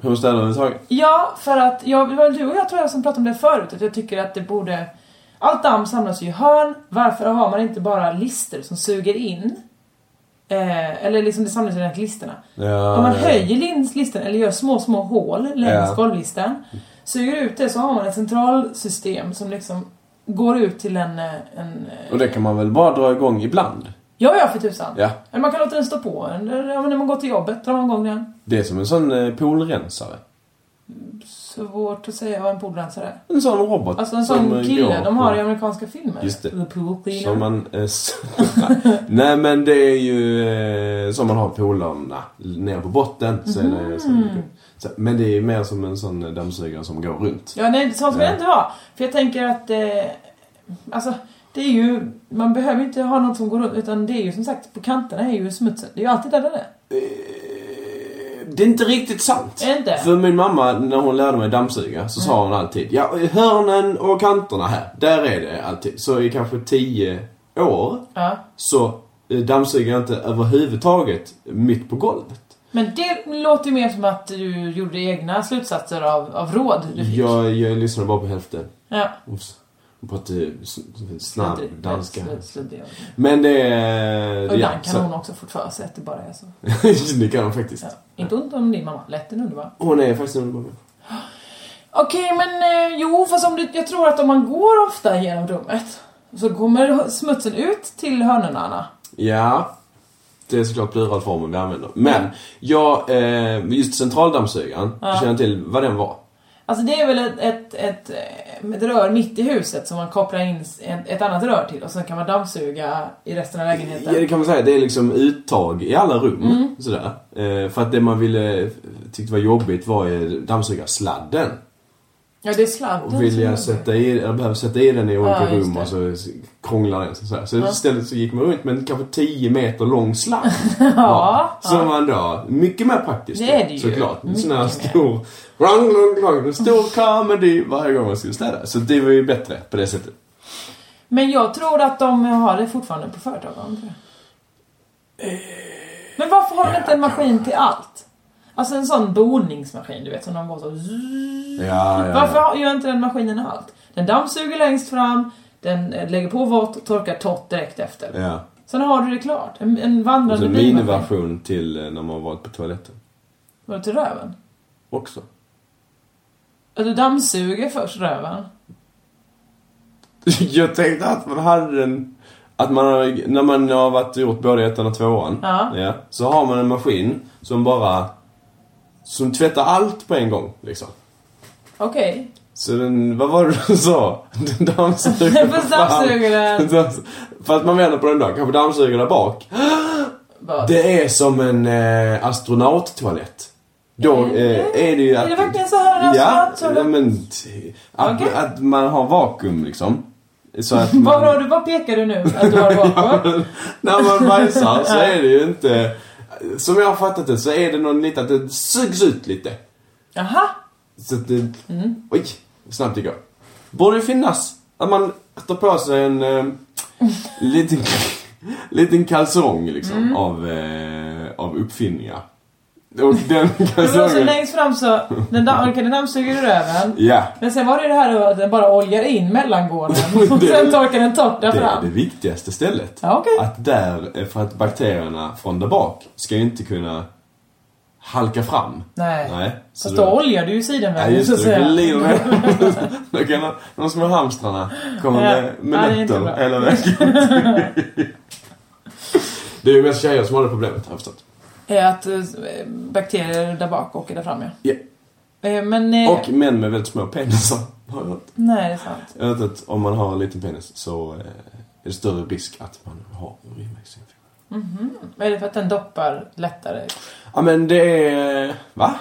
Speaker 5: Hur man städar överhuvudtaget.
Speaker 6: Ja, för att jag, det var du och jag tror jag som pratade om det förut, att jag tycker att det borde... Allt damm samlas ju i hörn, varför har man inte bara lister som suger in? Eh, eller liksom det samlas ju i listerna.
Speaker 5: Ja,
Speaker 6: Om man
Speaker 5: ja.
Speaker 6: höjer lins- listen eller gör små, små hål längs
Speaker 5: Ja.
Speaker 6: golvlisten, suger ut det så har man ett centralsystem som liksom går ut till en... eh, en eh,
Speaker 5: Och det kan man väl bara dra igång ibland?
Speaker 6: ja, ja för tusan.
Speaker 5: Ja.
Speaker 6: Eller man kan låta den stå på eller, ja, men när man går till jobbet, drar man igång den.
Speaker 5: Det är som en sån eh, poolrensare.
Speaker 6: Svårt att säga vad en poolrensare är.
Speaker 5: En sån robot.
Speaker 6: Alltså en
Speaker 5: som, eh,
Speaker 6: sån kille
Speaker 5: går
Speaker 6: de har
Speaker 5: på-
Speaker 6: i amerikanska filmer.
Speaker 5: Just det.
Speaker 6: The pool cleaner.
Speaker 5: Som man... eh, s- Nej men det är ju eh, som man har polarna nere på botten. Så är det, så,
Speaker 6: Mhm.
Speaker 5: så, men det är ju mer som en sån eh, dammsugare som går runt.
Speaker 6: Ja, nej, sånt vill
Speaker 5: Ja.
Speaker 6: jag inte ha. För jag tänker att... Eh, alltså, det är ju... Man behöver inte ha något som går runt. Utan det är ju som sagt, på kanterna är ju smutsen. Det är ju alltid där den är.
Speaker 5: Det är inte riktigt sant.
Speaker 6: Inte?
Speaker 5: För min mamma, när hon lärde mig dammsuga, så sa hon alltid Ja, hörnen och kanterna här, där är det alltid. Så i kanske tio år
Speaker 6: Ja.
Speaker 5: så eh, dammsuger jag inte överhuvudtaget mitt på golvet.
Speaker 6: Men det låter ju mer som att du gjorde egna slutsatser av, av råd. Du fick.
Speaker 5: Jag, jag lyssnade bara på hälften.
Speaker 6: Ja.
Speaker 5: Oops. Hon pratade s- s- snabb
Speaker 6: Sluddrig-
Speaker 5: danska.
Speaker 6: sludd- sluddrig.
Speaker 5: Men det... är-
Speaker 6: Och ibland
Speaker 5: ja,
Speaker 6: kan
Speaker 5: så-
Speaker 6: hon också fortfarande säga att det bara är så.
Speaker 5: det kan hon faktiskt.
Speaker 6: Inte ont om din mamma. Lätt en underbar.
Speaker 5: Hon är faktiskt en underbar människa.
Speaker 6: Okej, men eh, jo, fast om du, jag tror att om man går ofta genom rummet så kommer smutsen ut till hörnorna. Anna.
Speaker 5: Ja. Det är såklart pluralformen vi använder. Men, jag, eh, just centraldammsugaren,
Speaker 6: Mm. Ja.
Speaker 5: känner jag till vad den var.
Speaker 6: Alltså det är väl ett, ett, ett, eh, ett rör mitt i huset som man kopplar in s- ett, ett annat rör till och sen kan man dammsuga i resten av lägenheten.
Speaker 5: Ja, det kan man säga. Det är liksom uttag i alla rum.
Speaker 6: Mm.
Speaker 5: Sådär. Eh, för att det man ville, tyckte var jobbigt var ju dammsugarsladden.
Speaker 6: Ja, det är sladden.
Speaker 5: Och vill jag
Speaker 6: som-
Speaker 5: sätta i, jag behöver sätta i den i olika
Speaker 6: Ja, just
Speaker 5: rum
Speaker 6: det.
Speaker 5: och så krånglar den. Så, så
Speaker 6: Ja.
Speaker 5: istället så gick man runt med en kanske 10 meter lång sladd.
Speaker 6: Ja,
Speaker 5: Som man då, mycket mer praktiskt
Speaker 6: Det är det ju.
Speaker 5: såklart. En sån här
Speaker 6: Mycket
Speaker 5: stor, rang, rang, rang, en stor comedy varje gång man skulle städa. Så det var ju bättre på det sättet.
Speaker 6: Men jag tror att de har det fortfarande på företagen. tror jag.
Speaker 5: Eh,
Speaker 6: Men varför har de inte en maskin till allt? Alltså en sån boningsmaskin, du vet, som de går så...
Speaker 5: Ja,
Speaker 6: Varför har- gör inte den maskinen allt? Den dammsuger längst fram, den eh, lägger på vått och torkar torrt direkt efter.
Speaker 5: Ja.
Speaker 6: Sen har du det klart. En, en
Speaker 5: Och så
Speaker 6: vandrande
Speaker 5: en
Speaker 6: bilmaskin.
Speaker 5: miniversion till eh, när man varit på toaletten.
Speaker 6: Var det till röven?
Speaker 5: Också.
Speaker 6: Att du dammsuger först röven?
Speaker 5: Jag tänkte att man hade en... Att man har, när man har varit och gjort både ettan och tvåan.
Speaker 6: Ja.
Speaker 5: så har man en maskin som bara... Som tvättar allt på en gång, liksom.
Speaker 6: Okej.
Speaker 5: Så den, vad var det du sa? Den dammsuger
Speaker 6: Den får dammsugaren.
Speaker 5: Den dammsug- För att man vänder på den då, kanske dammsugaren där bak.
Speaker 6: Vad?
Speaker 5: Det är som en eh, astronauttoalett. Då eh, är det ju
Speaker 6: Är det
Speaker 5: att...
Speaker 6: verkligen så här en
Speaker 5: Ja,
Speaker 6: astronaut, sa du?
Speaker 5: ja, men... t- Att,
Speaker 6: Okej.
Speaker 5: att man har vakuum liksom. Så att
Speaker 6: Vad har du, vad pekar du nu att du har bakom?
Speaker 5: När man bajsar så är det ju inte... Som jag har fattat det så är det någon lite att det sugs ut lite.
Speaker 6: Jaha.
Speaker 5: Så att det...
Speaker 6: Mm.
Speaker 5: Oj, vad snabbt det går. Borde det finnas att man tar på sig en eh, liten, liten kalsong liksom
Speaker 6: Mm.
Speaker 5: av, eh, av uppfinningar. Och den
Speaker 6: Det var så
Speaker 5: kalsongen...
Speaker 6: längst fram så, den, damm, okay, den dammsuger du röven.
Speaker 5: Ja.
Speaker 6: Men sen var det ju det här att den bara oljar in mellangården och
Speaker 5: Det-
Speaker 6: sen torkar den torrt där
Speaker 5: Det är det
Speaker 6: fram.
Speaker 5: viktigaste stället.
Speaker 6: Ja, okej.
Speaker 5: Att där, eh, för att bakterierna från där bak ska ju inte kunna halka fram.
Speaker 6: Nej.
Speaker 5: så
Speaker 6: Fast
Speaker 5: då-
Speaker 6: då oljar du ju
Speaker 5: Ja,
Speaker 6: sidenvägen
Speaker 5: just
Speaker 6: så att
Speaker 5: det.
Speaker 6: säga.
Speaker 5: Det glider ner. Då kan de, de små hamstrarna komma
Speaker 6: Ja.
Speaker 5: med, med
Speaker 6: Ja, det är inte
Speaker 5: nötter
Speaker 6: bra.
Speaker 5: hela vägen. Det är ju mest tjejer som har det problemet, har jag förstått.
Speaker 6: Är att eh, bakterier där bak åker där fram ja.
Speaker 5: Ja.
Speaker 6: Eh, Men... eh,
Speaker 5: Och män med väldigt små penisar. har jag hört.
Speaker 6: Nej, det är sant.
Speaker 5: Jag vet att om man har en liten penis så eh, är det större risk att man har urinvägsinfektion.
Speaker 6: Mhm. Är det för att den doppar lättare?
Speaker 5: Ja men det är... Va?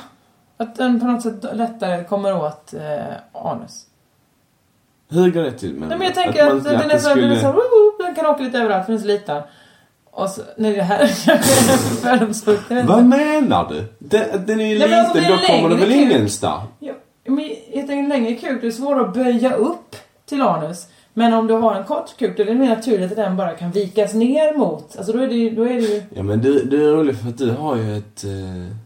Speaker 6: Att den på något sätt lättare kommer åt eh, anus?
Speaker 5: Hur går det till? Men,
Speaker 6: Nej men jag tänker att, den är så, den är så, woho, den kan åka lite överallt för den är så liten. Och så, nej det här är fördomsfullt, jag vet inte.
Speaker 5: Vad menar du? Den, den är ju
Speaker 6: Nej,
Speaker 5: liten,
Speaker 6: men alltså, det är
Speaker 5: då kommer den
Speaker 6: längre
Speaker 5: väl
Speaker 6: kuk.
Speaker 5: ingenstans?
Speaker 6: Ja, men jag tänker en längre kuk, det är svårare att böja upp till anus. Men om du har en kort kuk då är det mer naturligt att den bara kan vikas ner mot. Alltså då är det ju... Då är det ju
Speaker 5: Ja men du, du är rolig för att du har ju ett... Eh,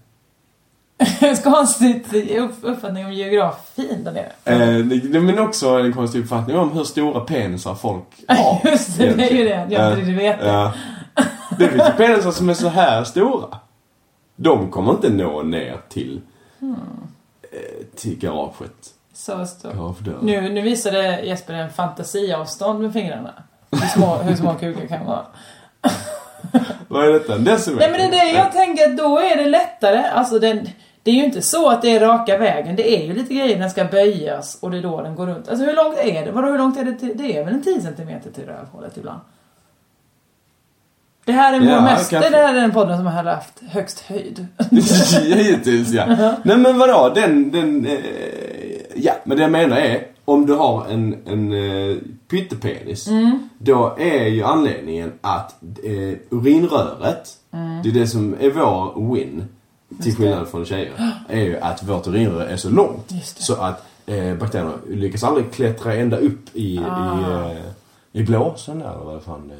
Speaker 6: en konstig upp- uppfattning om geografin där nere.
Speaker 5: eh, det- men också en konstig uppfattning om hur stora penisar folk
Speaker 6: Ja, Just det, det är ju det. Jag har inte
Speaker 5: Eh,
Speaker 6: riktigt vetat.
Speaker 5: ja. Det finns ju penisar som är så här stora. De kommer inte nå ner till,
Speaker 6: Hmm.
Speaker 5: eh, till garaget.
Speaker 6: Så stort.
Speaker 5: Ja, för det-
Speaker 6: Nu, nu visade Jesper en fantasiavstånd med fingrarna. Hur små, hur små kukar kan vara.
Speaker 5: Vad är detta? En decimeter?
Speaker 6: Nej men det är det jag tänker att då är det lättare. Alltså den, det är ju inte så att det är raka vägen. Det är ju lite grejer den ska böjas och det är då den går runt. Alltså hur långt är det? Vadå hur långt är det till, Det är väl en 10 cm till rövhålet ibland. Det här är vår
Speaker 5: Ja,
Speaker 6: mest,
Speaker 5: kanske.
Speaker 6: det här är den podden som har haft högst höjd.
Speaker 5: Hittills ja. Nej men vadå, den, den, eh, ja men det jag menar är om du har en, en eh, pyttepenis
Speaker 10: Mm.
Speaker 5: då är ju anledningen att eh, urinröret,
Speaker 10: Mm.
Speaker 5: det är det som är vår win till skillnad från tjejer, är ju att vårt urinrör är så långt så att eh, bakterierna lyckas aldrig klättra ända upp i, i,
Speaker 6: Ah.
Speaker 5: eh, i blåsan där eller vad fan det är.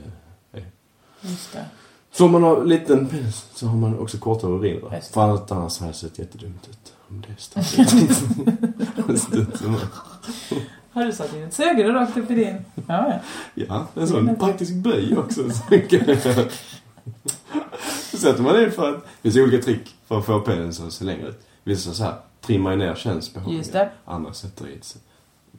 Speaker 6: Just det.
Speaker 5: Så om man har liten penis så har man också kortare urin då. För allt annars hade det sett jättedumt ut. Om det är stadigt.
Speaker 6: Har du satt in ett sugrör rakt upp i din? Ja, ja.
Speaker 5: ja, en sån praktisk böj också. så kan jag- Så sätter man det för att... Det finns olika trick för att få penisen att se längre ut. Vissa så här trimmar ju ner könsbehåringen.
Speaker 6: Just det.
Speaker 5: Andra sätter i ett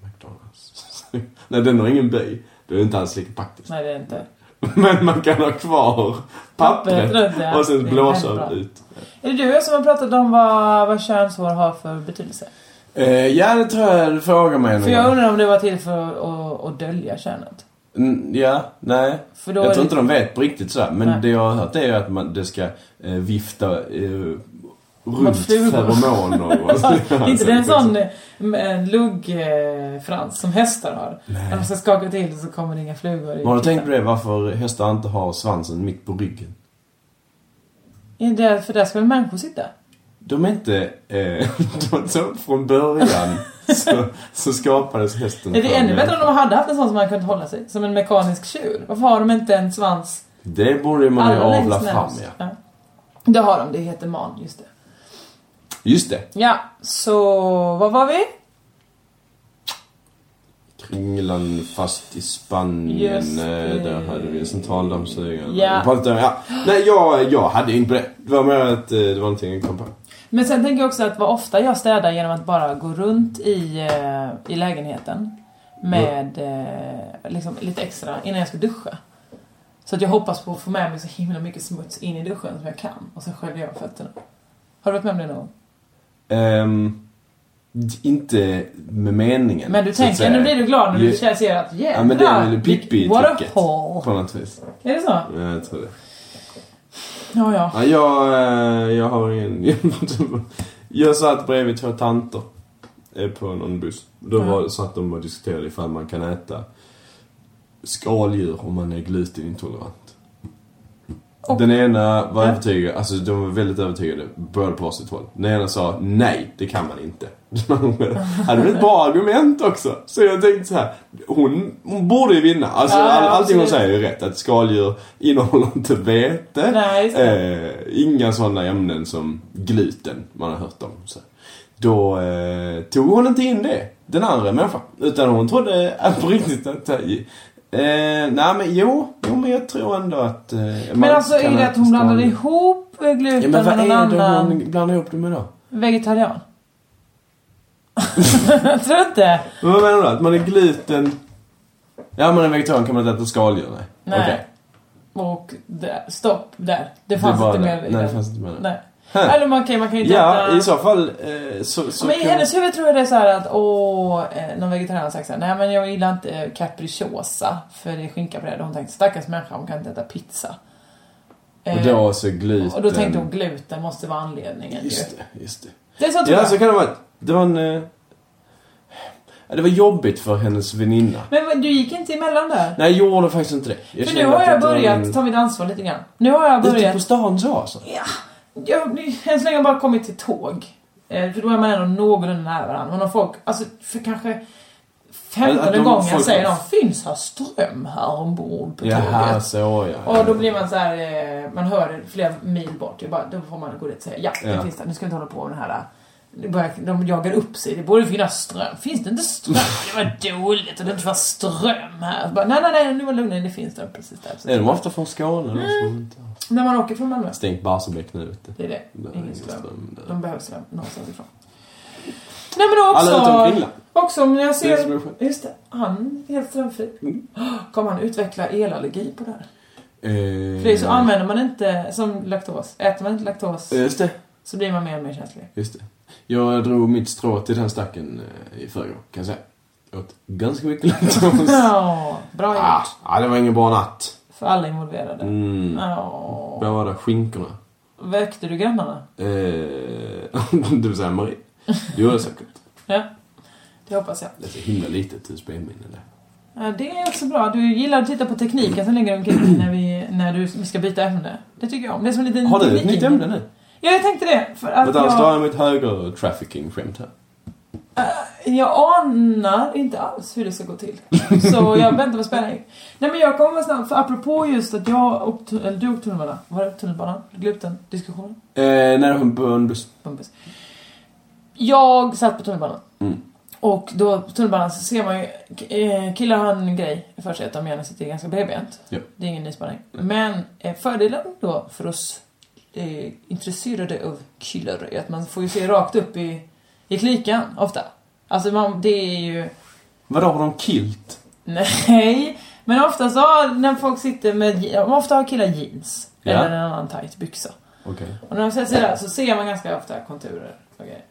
Speaker 5: McDonalds. Nej, den har ingen böj. Det är inte alls lika praktiskt.
Speaker 6: Nej det är inte.
Speaker 5: Men man kan ha kvar
Speaker 6: Pappret runt, ja.
Speaker 5: pappret och
Speaker 6: Det
Speaker 5: sen
Speaker 6: är
Speaker 5: blåsa
Speaker 6: väldigt bra.
Speaker 5: ut.
Speaker 6: Är det du som har pratat om vad, vad könshår har för betydelse?
Speaker 5: Eh, ja, det tror jag du frågar mig någon
Speaker 6: För jag
Speaker 5: gång.
Speaker 6: undrar om det var till för att, att, att dölja könet.
Speaker 5: Mm, ja, nej.
Speaker 6: För då är
Speaker 5: jag tror
Speaker 6: det-
Speaker 5: inte de vet på riktigt sådär. Men
Speaker 6: Nej.
Speaker 5: det jag har hört är ju att man, det ska eh, vifta eh,
Speaker 6: Vad
Speaker 5: runt
Speaker 6: ful.
Speaker 5: feromoner och Alltså,
Speaker 6: Inte det är en
Speaker 5: liksom.
Speaker 6: sån eh, luggfrans som hästar har. När de ska skaka till så kommer det inga flugor i.
Speaker 5: Men Har du tänkt på det? Varför hästar inte har svansen mitt på ryggen?
Speaker 6: Är det för där ska väl människor sitta?
Speaker 5: De är inte... Eh, de, de, från början så, så skapades hästen
Speaker 6: Är det
Speaker 5: för
Speaker 6: ännu bättre
Speaker 5: människan.
Speaker 6: om de hade haft en sån som man kunde hålla sig? Som en mekanisk tjur. Varför har de inte en svans
Speaker 5: Det borde man ju
Speaker 6: allra längst
Speaker 5: avla
Speaker 6: ner?
Speaker 5: fram, ja.
Speaker 6: ja. Det har de, det heter man, just det.
Speaker 5: Just det.
Speaker 6: Ja, så vad var vi?
Speaker 5: England fast i
Speaker 6: Just
Speaker 5: Spanien.
Speaker 6: det.
Speaker 5: eh, Där hade vi en centraldammsugare.
Speaker 6: Ja.
Speaker 5: Pratade om- ja. Nej, jag, jag hade inte på det. Det var mer att eh, det var någonting jag kom på.
Speaker 6: Men sen tänker jag också att vad ofta jag städar genom att bara gå runt i, eh, i lägenheten med eh, liksom lite extra innan jag ska duscha. Så att jag hoppas på att få med mig så himla mycket smuts in i duschen som jag kan och sen sköljer jag fötterna. Har du varit med om det någon gång?
Speaker 5: Ehm, d- inte med meningen.
Speaker 6: Men du
Speaker 5: så att
Speaker 6: tänker,
Speaker 5: säga.
Speaker 6: nu blir du glad när du
Speaker 5: Ju-
Speaker 6: ser att
Speaker 5: Ja, men det är väl
Speaker 6: jävlar!
Speaker 5: pippi
Speaker 6: What a
Speaker 5: tricket
Speaker 6: hole!
Speaker 5: På något vis.
Speaker 6: Är det så?
Speaker 5: Ja, jag tror det.
Speaker 6: Ja, ja.
Speaker 5: Ja, jag, eh, jag har ingen... jag satt bredvid två tanter eh, på någon buss. Då var, satt de och diskuterade ifall man kan äta skaldjur om man är glutenintolerant. Den ena var övertygad, alltså de var väldigt övertygade, både på varsitt håll. Den ena sa nej, det kan man inte. Hade väl ett bra argument också. Så jag tänkte så här, hon, hon borde ju vinna. Alltså
Speaker 10: Ja, ja,
Speaker 5: all, allting hon
Speaker 10: absolut.
Speaker 5: säger är ju rätt. Att skaldjur innehåller inte vete.
Speaker 10: Nej, just
Speaker 5: eh, inga sådana ämnen som gluten man har hört om. Så. här. Då eh, tog hon inte in det, den andra människan. Utan hon trodde att på riktigt att... Eh, nej men jo, jo men jag tror ändå att... Eh, man
Speaker 6: Men alltså är
Speaker 5: kan
Speaker 6: det
Speaker 5: äta
Speaker 6: att hon blandade
Speaker 5: skaldjur.
Speaker 6: ihop
Speaker 5: Ja,
Speaker 6: gluten
Speaker 5: men vad
Speaker 6: med någon
Speaker 5: är det
Speaker 6: annan
Speaker 5: hon blandar ihop det med då?
Speaker 6: vegetarian? jag tror inte.
Speaker 5: Men vad menar du? Att man är gluten... Ja, man är vegetarian kan man inte äta skaldjur, nej.
Speaker 6: Nej.
Speaker 5: Okej.
Speaker 6: Och där, stopp där. Det fanns
Speaker 5: var
Speaker 6: inte
Speaker 5: det.
Speaker 6: mer i
Speaker 5: Nej, det
Speaker 6: den.
Speaker 5: fanns inte mer där.
Speaker 6: Nej.
Speaker 5: Huh.
Speaker 6: Eller man kan, man kan ju inte
Speaker 5: Ja,
Speaker 6: äta...
Speaker 5: i så fall eh, så, så
Speaker 6: men i
Speaker 5: kan-
Speaker 6: hennes huvud tror jag det är så här att åh, eh, någon vegetarian har sagt så här, nej men jag gillar inte eh, capricciosa för det är skinka på det. Och Hon tänkte stackars människa, hon kan inte äta pizza.
Speaker 5: Och då så gluten...
Speaker 6: Eh, och då tänkte hon gluten måste vara anledningen
Speaker 5: Just
Speaker 6: ju.
Speaker 5: det, just det.
Speaker 6: Det är så tror
Speaker 5: Ja, alltså-
Speaker 6: jag.
Speaker 5: så kan det vara. Det var en... Eh... ja, Det var jobbigt för hennes väninna.
Speaker 6: Men vad- du gick inte emellan där?
Speaker 5: Nej, jag gjorde faktiskt inte det. Jag
Speaker 6: för nu
Speaker 5: kände
Speaker 6: har
Speaker 5: att
Speaker 6: jag
Speaker 5: det var
Speaker 6: börjat
Speaker 5: min-
Speaker 6: ta mitt ansvar lite grann. Nu har jag
Speaker 5: Ute
Speaker 6: börjat...
Speaker 5: på stan så alltså?
Speaker 6: Ja. Jag, än så länge har jag bara kommit till tåg. Eh, För då är man ändå någorlunda nära varandra. Men om folk, alltså för kanske
Speaker 5: Att
Speaker 6: femtonde
Speaker 5: de-
Speaker 6: gången
Speaker 5: folk-
Speaker 6: säger de finns här ström här ombord på
Speaker 5: Jaha,
Speaker 6: tåget.
Speaker 5: så ja.
Speaker 6: Och då blir man så här, eh, man hör det flera mil bort. Jag bara, då får man gå dit och säga ja, det
Speaker 5: Ja.
Speaker 6: finns det. Nu ska jag inte hålla på med den här. det börjar- De jagar upp sig. Det borde finnas ström. Finns det inte ström? Det var dåligt och det inte var ström här. Bara, nej, nej, nej, nu var lugna. Det finns ström precis där.
Speaker 5: Är de ofta från Skåne? då?
Speaker 6: Mm. När man åker från Malmö.
Speaker 5: Stängt Barsebäck nu ute.
Speaker 6: Det är det.
Speaker 5: Nej,
Speaker 6: Ingen
Speaker 5: ingen ström
Speaker 6: ström.
Speaker 5: där.
Speaker 6: De behöver ström någonstans ifrån. Nej men då också...
Speaker 5: Alla utom Finland.
Speaker 6: Också om jag
Speaker 5: Det är det som Mm. är
Speaker 6: ser...
Speaker 5: skönt.
Speaker 6: Just det, han är helt strömfri. Ah, Kommer han utveckla elallergi på det här?
Speaker 5: Eh,
Speaker 6: För det är så använder man inte, som laktos, äter man inte laktos
Speaker 5: Just det.
Speaker 6: så blir man mer och mer känslig.
Speaker 5: Just det. Jag drog mitt strå till den stacken eh, i förrgår, kan jag säga. Jag åt ganska mycket laktos.
Speaker 6: Ja, bra gjort.
Speaker 5: ah, ah, det var ingen bra natt.
Speaker 6: För alla involverade.
Speaker 5: Mm.
Speaker 6: Ja.
Speaker 5: Båda skinkorna.
Speaker 6: Väckte du grannarna?
Speaker 5: Eh, det vill säga Eh, Marie. Det gjorde jag säkert.
Speaker 6: Ja. Det hoppas jag.
Speaker 5: Det är så himla litet USB-minne där.
Speaker 6: Ja, det är också bra. Du gillar att titta på tekniken som ligger omkring dig när, vi, när du, vi ska byta ämne. Det tycker jag om. Det är som en liten
Speaker 5: Har du ett
Speaker 6: teknik-
Speaker 5: nytt ämne nu?
Speaker 6: Ja, jag tänkte det. För att
Speaker 5: Vänta, står
Speaker 6: jag,
Speaker 5: jag mitt höger trafficking-skämt här?
Speaker 6: jag anar inte alls hur det ska gå till. Så jag väntar med spänning. Nej men jag kommer vara snabb, för apropå just att jag och, tu- eller du och tunnelbanan, var det tunnelbanan? Gluten? Diskussionen?
Speaker 5: Eh, när hon på en buss.
Speaker 6: Bumpis. Jag satt på tunnelbanan.
Speaker 5: Mm.
Speaker 6: Och då på tunnelbanan så ser man ju, eh, killar har en grej för sig att de gärna sitter ganska bredbent.
Speaker 5: Ja.
Speaker 6: Det är ingen nyspaning. Men eh, fördelen då för oss eh, intresserade av killar är att man får ju se rakt upp i, i klikan ofta. Alltså man, det är ju...
Speaker 5: Vadå, har de kilt?
Speaker 6: Nej, men ofta så har- när folk sitter med... Ofta har killar jeans.
Speaker 5: Ja.
Speaker 6: Eller en annan tight byxa.
Speaker 5: Okej.
Speaker 6: Och när de sätter sig där så ser man ganska ofta konturer. Okej.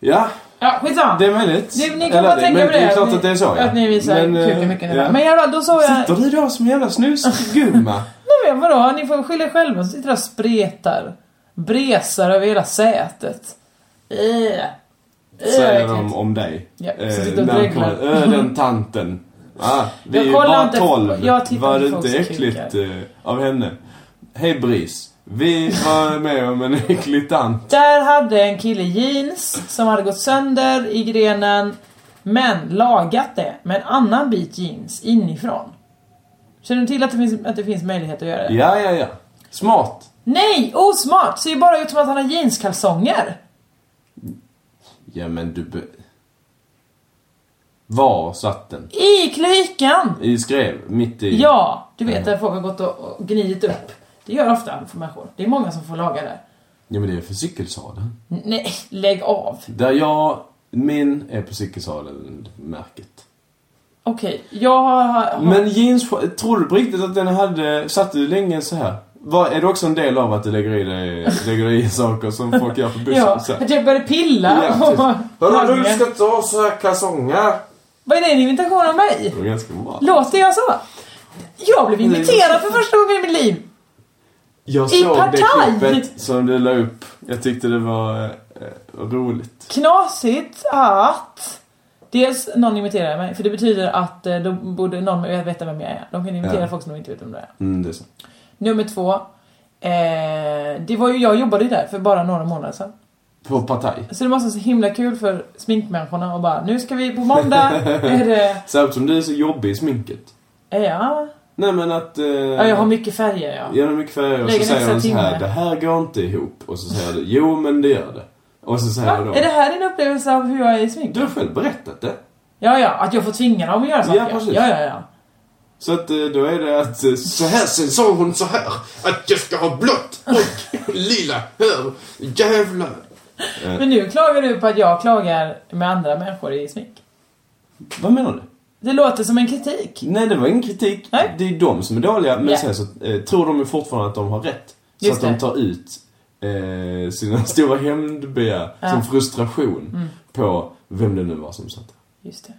Speaker 5: Ja,
Speaker 6: Ja, skitsamma.
Speaker 5: det är möjligt.
Speaker 6: Ni, ni
Speaker 5: Eller
Speaker 6: kan bara tänka
Speaker 5: men
Speaker 6: på
Speaker 5: Det
Speaker 6: det.
Speaker 5: är klart
Speaker 6: ni,
Speaker 5: att det är så, ja.
Speaker 6: Att ni visar
Speaker 5: Men, eh,
Speaker 6: kuken mycket.
Speaker 5: ja.
Speaker 6: Men i alla fall, då såg jag...
Speaker 5: Sitter du då som en jävla snusgumma?
Speaker 6: Nej men vadå, ni får skylla er själva. Sitter där och spretar. Bresar över hela sätet. Eh. Eh,
Speaker 5: Säger
Speaker 6: äckligt.
Speaker 5: de om dig.
Speaker 6: Ja,
Speaker 5: Eh,
Speaker 6: så sitter och
Speaker 5: när han
Speaker 6: dreglar.
Speaker 5: kommer, "Ö, den tanten. Ah, vi
Speaker 6: Jag
Speaker 5: är ju
Speaker 6: kollar
Speaker 5: bara
Speaker 6: inte-
Speaker 5: tolv.
Speaker 6: jag tittar
Speaker 5: Var
Speaker 6: på
Speaker 5: det inte
Speaker 6: folks
Speaker 5: äckligt eh, av henne? Hej Bris. Vi var med om en äcklig tant.
Speaker 6: Där hade en kille jeans som hade gått sönder i grenen men lagat det med en annan bit jeans inifrån. Känner du till att det finns, att det finns möjlighet att göra det?
Speaker 5: Ja, ja, ja. Smart.
Speaker 6: Nej! Osmart! Ser ju bara ut som att han har jeanskalsonger.
Speaker 5: Ja, men du... Be... Var satt den?
Speaker 6: I klykan!
Speaker 5: I skrev, mitt i...
Speaker 6: Ja! Du vet, där folk har gått och och gnidit upp. Det gör ofta för människor. Det är många som får laga det.
Speaker 5: Ja, men det är för cykelsadeln.
Speaker 6: N- Nej, lägg av.
Speaker 5: Där jag... Min är på cykelsadeln-märket.
Speaker 6: Okej, jag har... har
Speaker 5: Men jeans, tror du på riktigt att den hade, satt du länge så här? Var, är det också en del av att du lägger i dig, lägger i saker som folk gör på bussen?
Speaker 6: ja,
Speaker 5: så här?
Speaker 6: att jag började pilla.
Speaker 5: Ja, Hörru du
Speaker 6: Lagen.
Speaker 5: ska ta så här kalsonger.
Speaker 6: Vad är det en invitation av mig?
Speaker 5: Det var ganska bra.
Speaker 6: Låter jag så? Jag blev inviterad för första gången i mitt liv.
Speaker 5: Jag
Speaker 6: I
Speaker 5: såg
Speaker 6: partaj!
Speaker 5: det klippet som du la upp. Jag tyckte det var eh, eh, roligt.
Speaker 6: Knasigt att... Dels någon imiterar mig, för det betyder att eh, då borde någon veta vem jag är. De kan imitera
Speaker 5: Ja.
Speaker 6: folk som de inte vet vem det är.
Speaker 5: Mm, det är så.
Speaker 6: Nummer två. Eh, det var ju, jag jobbade ju där för bara några månader sedan.
Speaker 5: På partaj.
Speaker 6: Så det måste vara så himla kul för sminkmänniskorna och bara nu ska vi på måndag är det...
Speaker 5: Särskilt som du är så jobbig i sminket.
Speaker 6: Ja,
Speaker 5: Nej men att... Eh,
Speaker 6: ja jag har mycket färger ja.
Speaker 5: Genom mycket färger och
Speaker 6: Lägger
Speaker 5: så
Speaker 6: en
Speaker 5: säger
Speaker 6: extra
Speaker 5: hon så här,
Speaker 6: timme.
Speaker 5: det här går inte ihop. Och så säger du, jo men det gör det. Och så säger de,
Speaker 6: Är det här din upplevelse av hur jag är i smink?
Speaker 5: du har själv berättat det.
Speaker 6: Ja, ja, att jag får tvinga dem att göra saker.
Speaker 5: precis.
Speaker 6: ja, ja, ja.
Speaker 5: Så att eh, då är det att eh, så här sen sa hon så här att jag ska ha blått och lila hör. Jävlar.
Speaker 6: Men nu klagar du på att jag klagar med andra människor i smink.
Speaker 5: Vad menar du?
Speaker 6: Det låter som en kritik.
Speaker 5: Nej det var ingen kritik.
Speaker 6: Nej.
Speaker 5: Det är de som är dåliga men
Speaker 6: Ja.
Speaker 5: sen så eh, tror de ju fortfarande att de har rätt. Så att
Speaker 6: Just
Speaker 5: de
Speaker 6: det.
Speaker 5: tar ut eh, sina stora hämndbegär
Speaker 6: Ja.
Speaker 5: som frustration
Speaker 6: Mm.
Speaker 5: på vem det nu var som satt där.
Speaker 6: Just det.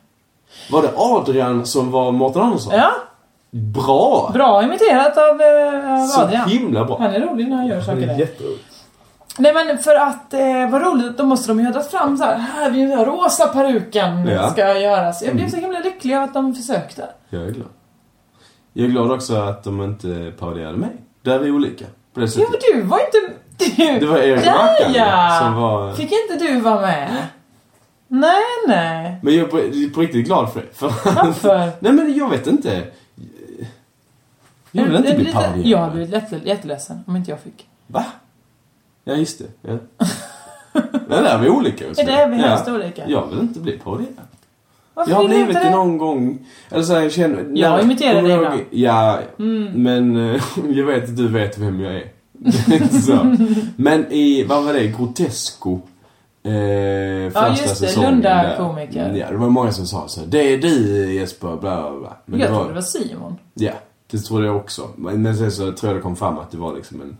Speaker 5: Var det Adrian som var Mårten Andersson?
Speaker 6: Ja,
Speaker 5: Bra!
Speaker 6: bra imiterat av, eh, av
Speaker 5: Så
Speaker 6: Adrian.
Speaker 5: himla bra.
Speaker 6: Han är rolig när han gör saker där.
Speaker 5: jätteroligt.
Speaker 6: Nej men för att, eh, vad roligt, då måste de ju ha dragit fram så här, här vi den rosa peruken
Speaker 5: Ja.
Speaker 6: ska göras. Jag blev
Speaker 5: Mm.
Speaker 6: så himla lycklig av att de försökte.
Speaker 5: Jag är glad. Jag är glad också att de inte parodierade mig. Där är vi olika. På det
Speaker 6: Jo
Speaker 5: sättet.
Speaker 6: men du var inte... Du,
Speaker 5: Det var Erik
Speaker 6: Där
Speaker 5: Mackan
Speaker 6: ja!
Speaker 5: som var...
Speaker 6: Fick inte du vara med? Nej, nej.
Speaker 5: Men jag är på, på riktigt glad för det. För
Speaker 6: Varför?
Speaker 5: Nej men jag vet inte. Jag vill
Speaker 6: Är-
Speaker 5: inte
Speaker 6: är
Speaker 5: bli
Speaker 6: lite-
Speaker 5: parodierad.
Speaker 6: Jag hade blivit lätt- jätteledsen om inte jag fick.
Speaker 5: Va? Ja just det. Ja. Nej, där är vi olika.
Speaker 6: Ja, det är vi helst olika.
Speaker 5: Jag vill inte bli parodierad.
Speaker 6: Varför
Speaker 5: Jag har
Speaker 6: vill du
Speaker 5: blivit
Speaker 6: inte
Speaker 5: det
Speaker 6: det?
Speaker 5: någon gång. Eller så här, jag känner...
Speaker 6: Jag
Speaker 5: när-
Speaker 6: imiterar
Speaker 5: kommer
Speaker 6: dig
Speaker 5: du
Speaker 6: ibland.
Speaker 5: ihåg- Ja,
Speaker 6: Mm.
Speaker 5: men eh, jag vet att du vet vem jag är. Det är inte så. Men i, vad var det, Grotesco? Eh, första
Speaker 6: just det,
Speaker 5: säsongen
Speaker 6: Lunda
Speaker 5: där.
Speaker 6: komiker.
Speaker 5: Ja, det var många som sa så här, Det är du Jesper, bla bla bla. Men
Speaker 6: jag
Speaker 5: det var,
Speaker 6: trodde det var Simon.
Speaker 5: Ja, det trodde jag också. Men men sen så tror jag det kom fram att det var liksom en...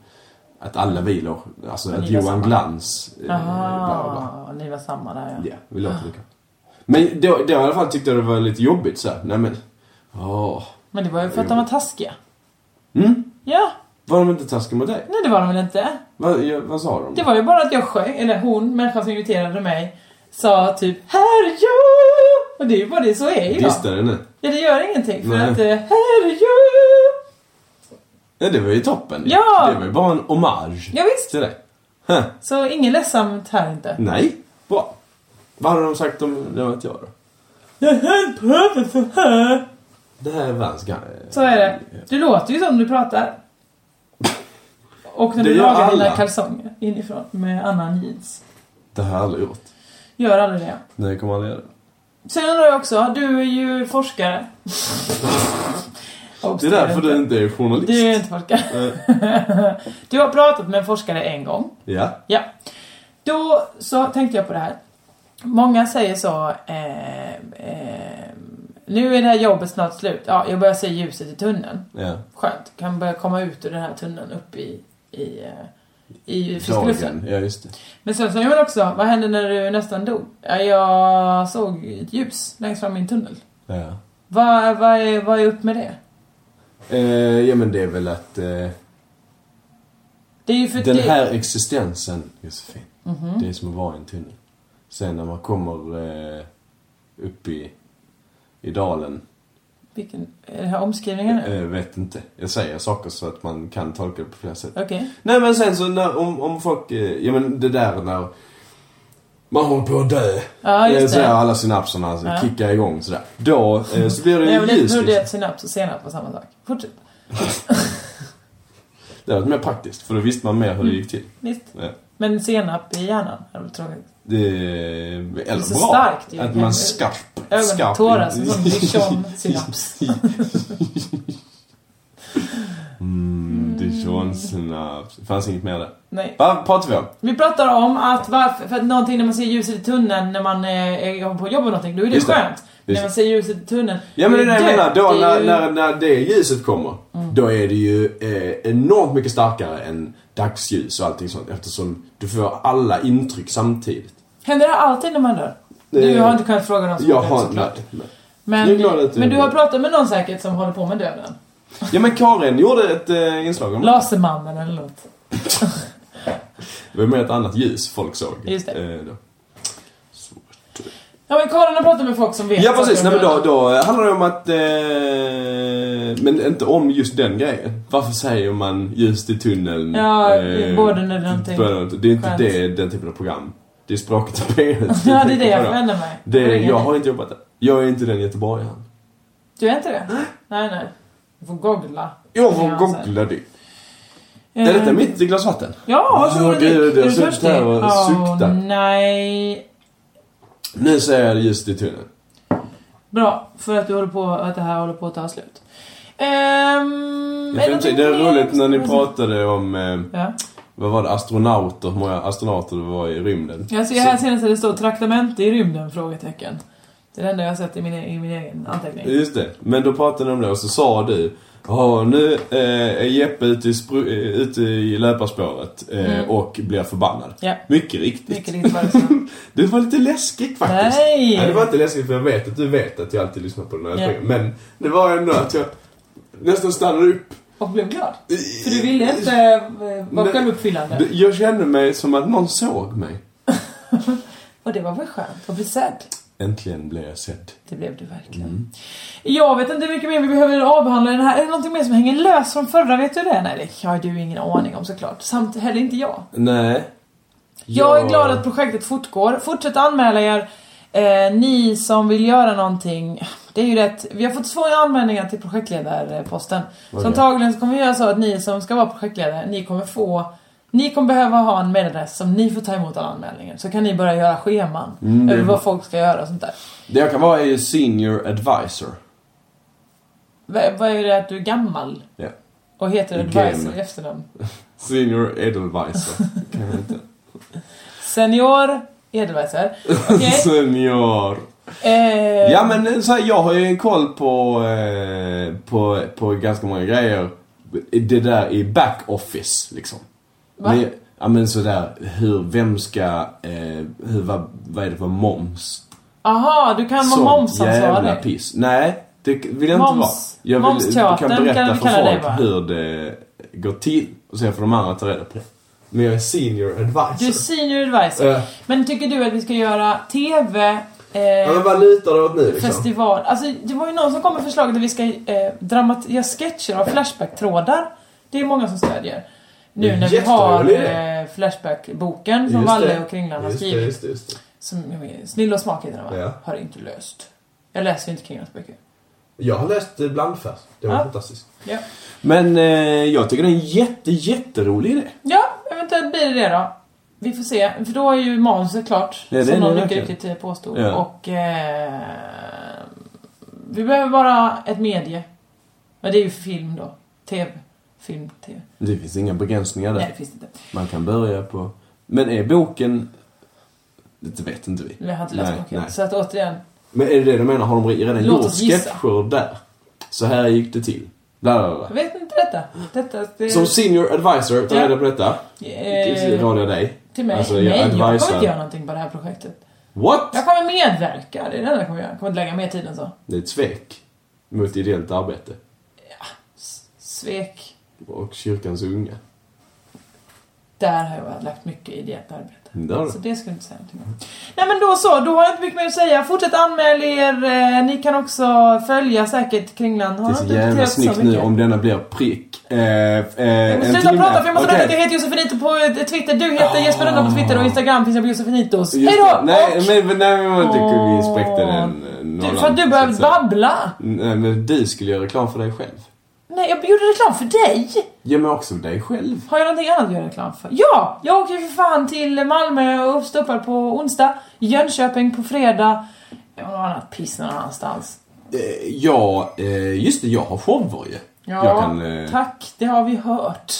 Speaker 5: Att alla vi låg... Alltså
Speaker 6: Men
Speaker 5: att
Speaker 6: ni var
Speaker 5: Johan
Speaker 6: samma.
Speaker 5: Glans... eh, bla, bla.
Speaker 6: Jaha, Ah, ni var samma där ja.
Speaker 5: Ja, vi
Speaker 6: Ah.
Speaker 5: låter lika. Men då, då i alla fall tyckte jag det var lite jobbigt så här. Nej men... Åh.
Speaker 6: Men det var ju för att de var taskiga.
Speaker 5: Mm?
Speaker 6: Ja,
Speaker 5: Var de inte taskiga mot dig?
Speaker 6: nej det var de väl inte?
Speaker 5: Vad, ja, vad sa de?
Speaker 6: Det var ju bara att jag sjöng, eller hon, människan som imiterade mig, sa typ Här är jag! Och det är ju bara det, så är jag.
Speaker 5: Distade nu.
Speaker 6: Ja, det gör ingenting för
Speaker 5: Nej.
Speaker 6: att eh, Här är jag!
Speaker 5: Ja, det var ju toppen.
Speaker 6: Ja!
Speaker 5: Det var ju bara en hommage.
Speaker 6: Ja, visst.
Speaker 5: Till dig. Huh.
Speaker 6: Så ingen ledsamt här inte.
Speaker 5: Nej. Bra. Vad hade de sagt om det var inte jag då?
Speaker 6: Jag höll på över så här.
Speaker 5: Det här är världens gamla...
Speaker 6: Så är det. Du låter ju som du pratar. Och när
Speaker 5: Det
Speaker 6: du
Speaker 5: gör
Speaker 6: lagar dina
Speaker 5: alla.
Speaker 6: kalsonger inifrån med annan jeans.
Speaker 5: Det här har jag aldrig gjort.
Speaker 6: Gör aldrig det.
Speaker 5: Nej, jag kommer aldrig göra det.
Speaker 6: Sen undrar jag också, du är ju forskare.
Speaker 5: Det är därför du inte är journalist.
Speaker 6: Du är inte forskare. Du har pratat med en forskare en gång.
Speaker 5: Ja.
Speaker 6: Ja. Då så tänkte jag på det här. Många säger så... Eh, eh, nu är det här jobbet snart slut. Ja, jag börjar se ljuset i tunneln.
Speaker 5: Ja.
Speaker 6: Skönt. Kan börja komma ut ur den här tunneln upp i, i, eh, i frisk
Speaker 5: Dagen.
Speaker 6: luften.
Speaker 5: Ja, just det.
Speaker 6: Men sen sa jag väl också, vad hände när du nästan dog? Ja, jag såg ett ljus längst fram i en tunnel.
Speaker 5: Ja.
Speaker 6: Vad, vad, är, vad är upp med det?
Speaker 5: Eh, ja, men det är väl att... Eh,
Speaker 6: Det är ju för
Speaker 5: den
Speaker 6: det...
Speaker 5: här existensen, Josefin.
Speaker 6: Mhm.
Speaker 5: Det är som att vara i en tunnel. Sen när man kommer eh, upp i, i dalen.
Speaker 6: Vilken... Är det här omskrivningen nu?
Speaker 5: Eh, vet inte. Jag säger saker så att man kan tolka det på flera sätt.
Speaker 6: Okej.
Speaker 5: Nej men sen så när, om, om folk, eh, ja men det där när man håller på att dö.
Speaker 6: Ja, just
Speaker 5: Eh, Så
Speaker 6: det.
Speaker 5: här, alla synapserna
Speaker 6: Ja.
Speaker 5: kickar igång sådär. Då eh, så blir det
Speaker 6: Nej,
Speaker 5: ju
Speaker 6: men det
Speaker 5: ljus
Speaker 6: trodde jag
Speaker 5: liksom.
Speaker 6: att synaps och senap var samma sak. Fortsätt.
Speaker 5: Det var mer praktiskt för då visste man mer hur
Speaker 6: Mm.
Speaker 5: det gick till.
Speaker 6: Visst.
Speaker 5: Ja.
Speaker 6: Men senap i hjärnan är väl tråkigt?
Speaker 5: Det är eller
Speaker 6: Det är så
Speaker 5: bra.
Speaker 6: starkt ju.
Speaker 5: att man skarp, skarp.
Speaker 6: Ögontårar som sån Dijon-synaps.
Speaker 5: mm, Dijon-synaps. Det fanns inget mer där.
Speaker 6: Nej.
Speaker 5: Vad pratar vi om?
Speaker 6: Vi pratar om att varför, för att någonting när man ser ljuset i tunneln när man eh, är håller på att jobba med någonting, då är det
Speaker 5: Just det.
Speaker 6: skönt.
Speaker 5: Just
Speaker 6: När man ser ljuset i tunneln.
Speaker 5: Ja men det är det jag
Speaker 6: dött,
Speaker 5: menar. Då
Speaker 6: det är
Speaker 5: när,
Speaker 6: ju- Mm.
Speaker 5: när, när det ljuset kommer. Då är det ju eh, enormt mycket starkare än dagsljus och allting sånt. Eftersom du får alla intryck samtidigt.
Speaker 6: Händer det alltid när man dör? Du
Speaker 5: Eh,
Speaker 6: har inte kunnat fråga någon som
Speaker 5: Jag
Speaker 6: har dött,
Speaker 5: har...
Speaker 6: såklart.
Speaker 5: Nej, nej. Jag är
Speaker 6: Men,
Speaker 5: glad att du-
Speaker 6: men du har pratat med någon säkert som håller på med döden?
Speaker 5: Ja men Karin gjorde ett eh, inslag om det.
Speaker 6: Lasermannen eller något?
Speaker 5: Det var mer ett annat ljus folk såg.
Speaker 6: Just
Speaker 5: det. Eh, då.
Speaker 6: Ja men Karin har pratat med folk som vet
Speaker 5: Ja precis,
Speaker 6: saker
Speaker 5: nej,
Speaker 6: om
Speaker 5: men då,
Speaker 6: döden.
Speaker 5: då handlar det om att... Eh, men inte om just den grejen. Varför säger man ljus i tunneln?
Speaker 6: Ja, båden eller någonting.
Speaker 5: båden eller någonting. Det är inte
Speaker 6: Skönt.
Speaker 5: det, den typen av program. Det är språket och benet.
Speaker 6: Ja, det är det jag
Speaker 5: Vadå?
Speaker 6: förändrar mig.
Speaker 5: Det är,
Speaker 6: Ringen.
Speaker 5: jag har inte jobbat där. Jag är inte den göteborgaren.
Speaker 6: Du är inte det? Nej, nej. Du får googla. Alltså.
Speaker 5: Jag får
Speaker 6: Ja, så här.
Speaker 5: googla det.
Speaker 6: Eh.
Speaker 5: Är detta mitt glas vatten?
Speaker 6: Ja,
Speaker 5: Åh,
Speaker 6: varsågod och drick.
Speaker 5: gud,
Speaker 6: Är
Speaker 5: jag
Speaker 6: du
Speaker 5: sitter
Speaker 6: törstig?
Speaker 5: här och
Speaker 6: Åh,
Speaker 5: suktar.
Speaker 6: nej.
Speaker 5: Nu säger jag ljus i tunneln.
Speaker 6: Bra, för att, du håller på, att det här håller på att ta slut. Ehm,
Speaker 5: Jag kan inte- Det är
Speaker 6: någonting mer?
Speaker 5: roligt när ni pratade om... Eh,
Speaker 6: Ja.
Speaker 5: Vad var det? Astronauter? Hur många astronauter det var i rymden?
Speaker 6: Jag ser här senast att det står traktamente i rymden? Frågetecken. Det är det enda jag har sett i min, e- i min egen anteckning.
Speaker 5: Just det. Men då pratade de om det och så sa du Ja, nu eh, är Jeppe ute i, spru- eh, ute i löparspåret eh,
Speaker 6: Mm.
Speaker 5: och blir förbannad.
Speaker 6: Ja.
Speaker 5: Mycket riktigt.
Speaker 6: Mycket riktigt var det så.
Speaker 5: Det var lite läskigt faktiskt.
Speaker 6: Nej.
Speaker 5: det var inte läskigt för jag vet att du vet att jag alltid lyssnar på den här
Speaker 6: Ja.
Speaker 5: yeah. Men det var ändå att jag nästan stannade upp.
Speaker 6: Och blev glad. För du ville inte eh, vara
Speaker 5: Eh. Nej.
Speaker 6: självuppfyllande.
Speaker 5: Jag kände mig som att någon såg mig.
Speaker 6: Och det var väl skönt att bli sedd.
Speaker 5: Äntligen blev jag sedd.
Speaker 6: Det blev du verkligen.
Speaker 5: Mm.
Speaker 6: Jag vet inte hur mycket mer vi behöver avhandla i den här. Är det någonting mer som hänger lös från förra? Vet du det? Nej, det har du ingen aning om såklart. Samt heller inte jag.
Speaker 5: Nej.
Speaker 6: Jag är
Speaker 5: Ja.
Speaker 6: glad att projektet fortgår. Fortsätt anmäla er. Eh, ni som vill göra någonting. Det är ju rätt. Vi har fått svåra anmälningar till projektledarposten.
Speaker 10: Vad
Speaker 6: Så
Speaker 10: är det?
Speaker 6: antagligen så kommer vi göra så att ni som ska vara projektledare, ni kommer få ni kommer behöva ha en mailadress som ni får ta emot alla anmälningar. Så kan ni börja göra scheman
Speaker 5: Mm, det är
Speaker 6: över vad
Speaker 5: bra.
Speaker 6: folk ska göra och sånt där.
Speaker 5: Det jag kan vara är ju senior advisor.
Speaker 6: V- Vad är det att du är gammal?
Speaker 5: Ja.
Speaker 6: Och heter
Speaker 5: I
Speaker 6: advisor
Speaker 5: game.
Speaker 6: i efternamn?
Speaker 5: Senior edelvisor. Kan jag inte.
Speaker 6: Senior Edelweiser.
Speaker 5: Senior.
Speaker 6: Eh,
Speaker 5: Ja men så här, jag har ju en koll på, eh, på, på ganska många grejer. Det där i back office liksom.
Speaker 6: Va?
Speaker 5: Men, ja men sådär, hur, vem ska, eh, hur, vad, vad är det för moms?
Speaker 6: Aha, du kan vara
Speaker 5: Sånt jävla
Speaker 6: momsansvarig.
Speaker 5: piss. Nej, det vill jag
Speaker 6: Moms-
Speaker 5: inte vara. Jag vill, du
Speaker 6: momsteatern
Speaker 5: kan berätta
Speaker 6: kan vi
Speaker 5: för
Speaker 6: kalla det, va?
Speaker 5: folk hur det går till. Och sen får de andra ta reda på det. Men jag är senior
Speaker 6: Du
Speaker 5: advisor.
Speaker 6: är senior advisor.
Speaker 5: Eh.
Speaker 6: Men tycker du att vi ska göra TV, eh,
Speaker 5: Ja men vad lutar det åt nu liksom?
Speaker 6: festival? Alltså det var ju någon som kom med förslaget att vi ska eh, dramat- göra sketcher av Flashback-trådar. Det är många som stödjer.
Speaker 5: Det
Speaker 6: Nu
Speaker 5: är
Speaker 6: när vi har
Speaker 5: jätterolig idé.
Speaker 6: eh, Flashback-boken som
Speaker 5: Just
Speaker 6: Valle
Speaker 5: det.
Speaker 6: och Kringlan har
Speaker 5: Just det,
Speaker 6: skrivit.
Speaker 5: just det, just det.
Speaker 6: Som, jag vet, Snilla och smak heter den va?
Speaker 5: Ja.
Speaker 6: Har inte löst. Jag läser ju inte Kringlans böcker.
Speaker 5: Jag har läst eh, Blandfärs. Det var
Speaker 6: Ja.
Speaker 5: fantastiskt.
Speaker 6: Ja.
Speaker 5: Men eh, jag tycker det är en jätte, jätterolig idé.
Speaker 6: Ja, eventuellt blir det det då. Vi får se, för då är ju manuset klart.
Speaker 5: Ja, det är
Speaker 6: som
Speaker 5: det
Speaker 6: någon mycket
Speaker 5: verkligen.
Speaker 6: riktigt eh, påstod.
Speaker 5: Ja.
Speaker 6: Och... Eh, vi behöver bara ett medie. Men det är ju film då. TV. Film, TV.
Speaker 5: Det finns inga begränsningar där.
Speaker 6: Nej, det finns inte.
Speaker 5: Man kan börja på... Men är boken... Det vet inte vi.
Speaker 6: Vi har inte läst
Speaker 5: Nej,
Speaker 6: boken.
Speaker 5: nej.
Speaker 6: Så att återigen.
Speaker 5: Men är det det du menar? Har de redan
Speaker 6: Låt
Speaker 5: gjort
Speaker 6: oss gissa.
Speaker 5: sketcher där? Så här gick det till. Bla, bla,
Speaker 6: Jag
Speaker 5: bla.
Speaker 6: vet inte detta. detta det,
Speaker 5: Som senior advisor, ta
Speaker 6: Mm. Ja.
Speaker 5: reda på detta.
Speaker 6: Eh,
Speaker 5: Råder jag dig.
Speaker 6: Till mig?
Speaker 5: Alltså,
Speaker 6: Nej,
Speaker 5: jag
Speaker 6: jag kommer
Speaker 5: advisar.
Speaker 6: inte göra någonting på det här projektet.
Speaker 5: What?
Speaker 6: Jag kommer medverka. Det är det enda jag kommer göra. Jag kommer inte lägga mer tid än så.
Speaker 5: Det är ett svek. Mot ideellt arbete.
Speaker 6: Svek.
Speaker 5: Och kyrkans unga.
Speaker 6: Där har jag lagt mycket ideellt arbete.
Speaker 5: Mm, Där har du.
Speaker 6: Så Alltså, det skulle jag inte säga någonting om. Nej men då så, då har jag inte mycket mer att säga. Fortsätt anmäl er. eh, Ni kan också följa säkert Kringland. Har
Speaker 5: Det är så
Speaker 6: inte
Speaker 5: jävla
Speaker 6: diskuterat så
Speaker 5: snyggt nu
Speaker 6: mycket.
Speaker 5: om denna blir prick. Eh, eh,
Speaker 6: Men
Speaker 5: en
Speaker 6: Sluta
Speaker 5: timme.
Speaker 6: prata för jag måste
Speaker 5: Okej. Ah.
Speaker 6: berätta att jag heter Josefinito på eh, Twitter. Du heter Jesper Rönndahl på Twitter och Instagram finns jag på Josefinitos.
Speaker 5: Just
Speaker 6: Hejdå!
Speaker 5: det. Nej, men, men, nej, men jag tycker vi spräckte den eh, nollan.
Speaker 6: Du, för att du började
Speaker 5: så att säga.
Speaker 6: babbla.
Speaker 5: Nej, men du skulle göra reklam för dig själv.
Speaker 6: Nej, jag gjorde reklam för dig.
Speaker 5: Ja, men också dig själv.
Speaker 6: Har jag någonting annat att göra reklam för? Ja! Jag åker ju för fan till Malmö och uppstoppar på onsdag. Jönköping på fredag. Och något annat piss någon annanstans.
Speaker 5: Eh, Ja, eh, just det, jag har shower ju.
Speaker 6: Ja,
Speaker 5: jag kan, eh,
Speaker 6: tack. Det har vi hört.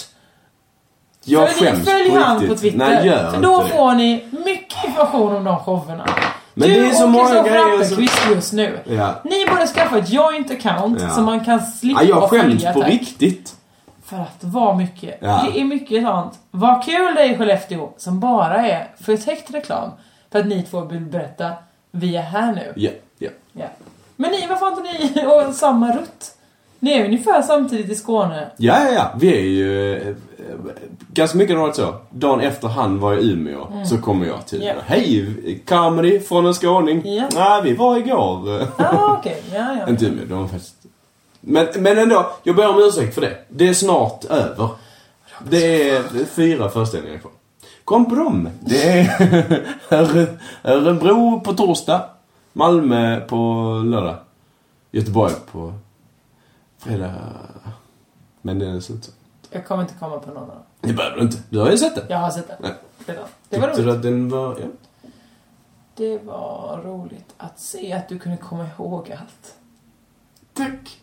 Speaker 5: Jag
Speaker 6: följ
Speaker 5: skäms
Speaker 6: följ
Speaker 5: på
Speaker 6: han
Speaker 5: riktigt.
Speaker 6: på Twitter.
Speaker 5: Nej, gör
Speaker 6: för då
Speaker 5: inte det.
Speaker 6: får ni mycket information om de showerna.
Speaker 5: Men
Speaker 6: du
Speaker 5: det är så
Speaker 6: och
Speaker 5: många
Speaker 6: Kristoffer
Speaker 5: grejer
Speaker 6: Appelqvist just nu.
Speaker 5: Ja.
Speaker 6: Ni borde skaffa ett joint-account
Speaker 5: Ja.
Speaker 6: så man kan slippa
Speaker 5: Ja, jag skäms
Speaker 6: följa,
Speaker 5: på
Speaker 6: tack.
Speaker 5: riktigt.
Speaker 6: För att vara mycket.
Speaker 5: Ja.
Speaker 6: Det är mycket sånt. Vad kul det är i Skellefteå som bara är förtäckt reklam. För att ni två vill berätta, vi är här nu.
Speaker 5: Ja, ja.
Speaker 6: Ja. Men ni, varför har inte ni och samma rutt? Ni är ju ungefär samtidigt i Skåne.
Speaker 5: Ja, ja, ja. Vi är ju... eh, eh, Ganska mycket har det varit så. Dagen efter han var i Umeå
Speaker 6: Mm.
Speaker 5: så kommer jag till
Speaker 6: Ja.
Speaker 5: Hej, comedy från en skåning.
Speaker 6: Ja.
Speaker 5: Nej, vi var igår.
Speaker 6: Ah, okej. Ja, ja.
Speaker 5: Inte Umeå, det var faktiskt... Men, men ändå, jag ber om ursäkt för det. Det är snart över. Det är fyra föreställningar kvar. Kom på dem! Det är Öre- Örebro på torsdag, Malmö på lördag, Göteborg på fredag. Men det är slut.
Speaker 6: Jag kommer inte komma på någon av dem.
Speaker 5: Det behöver du inte. Du har ju sett den.
Speaker 6: Jag har sett den.
Speaker 5: Nej.
Speaker 6: Redan. Det var
Speaker 5: Tyckte du
Speaker 6: roligt.
Speaker 5: att den var... Ja.
Speaker 6: Det var roligt att se att du kunde komma ihåg allt.
Speaker 5: Tack.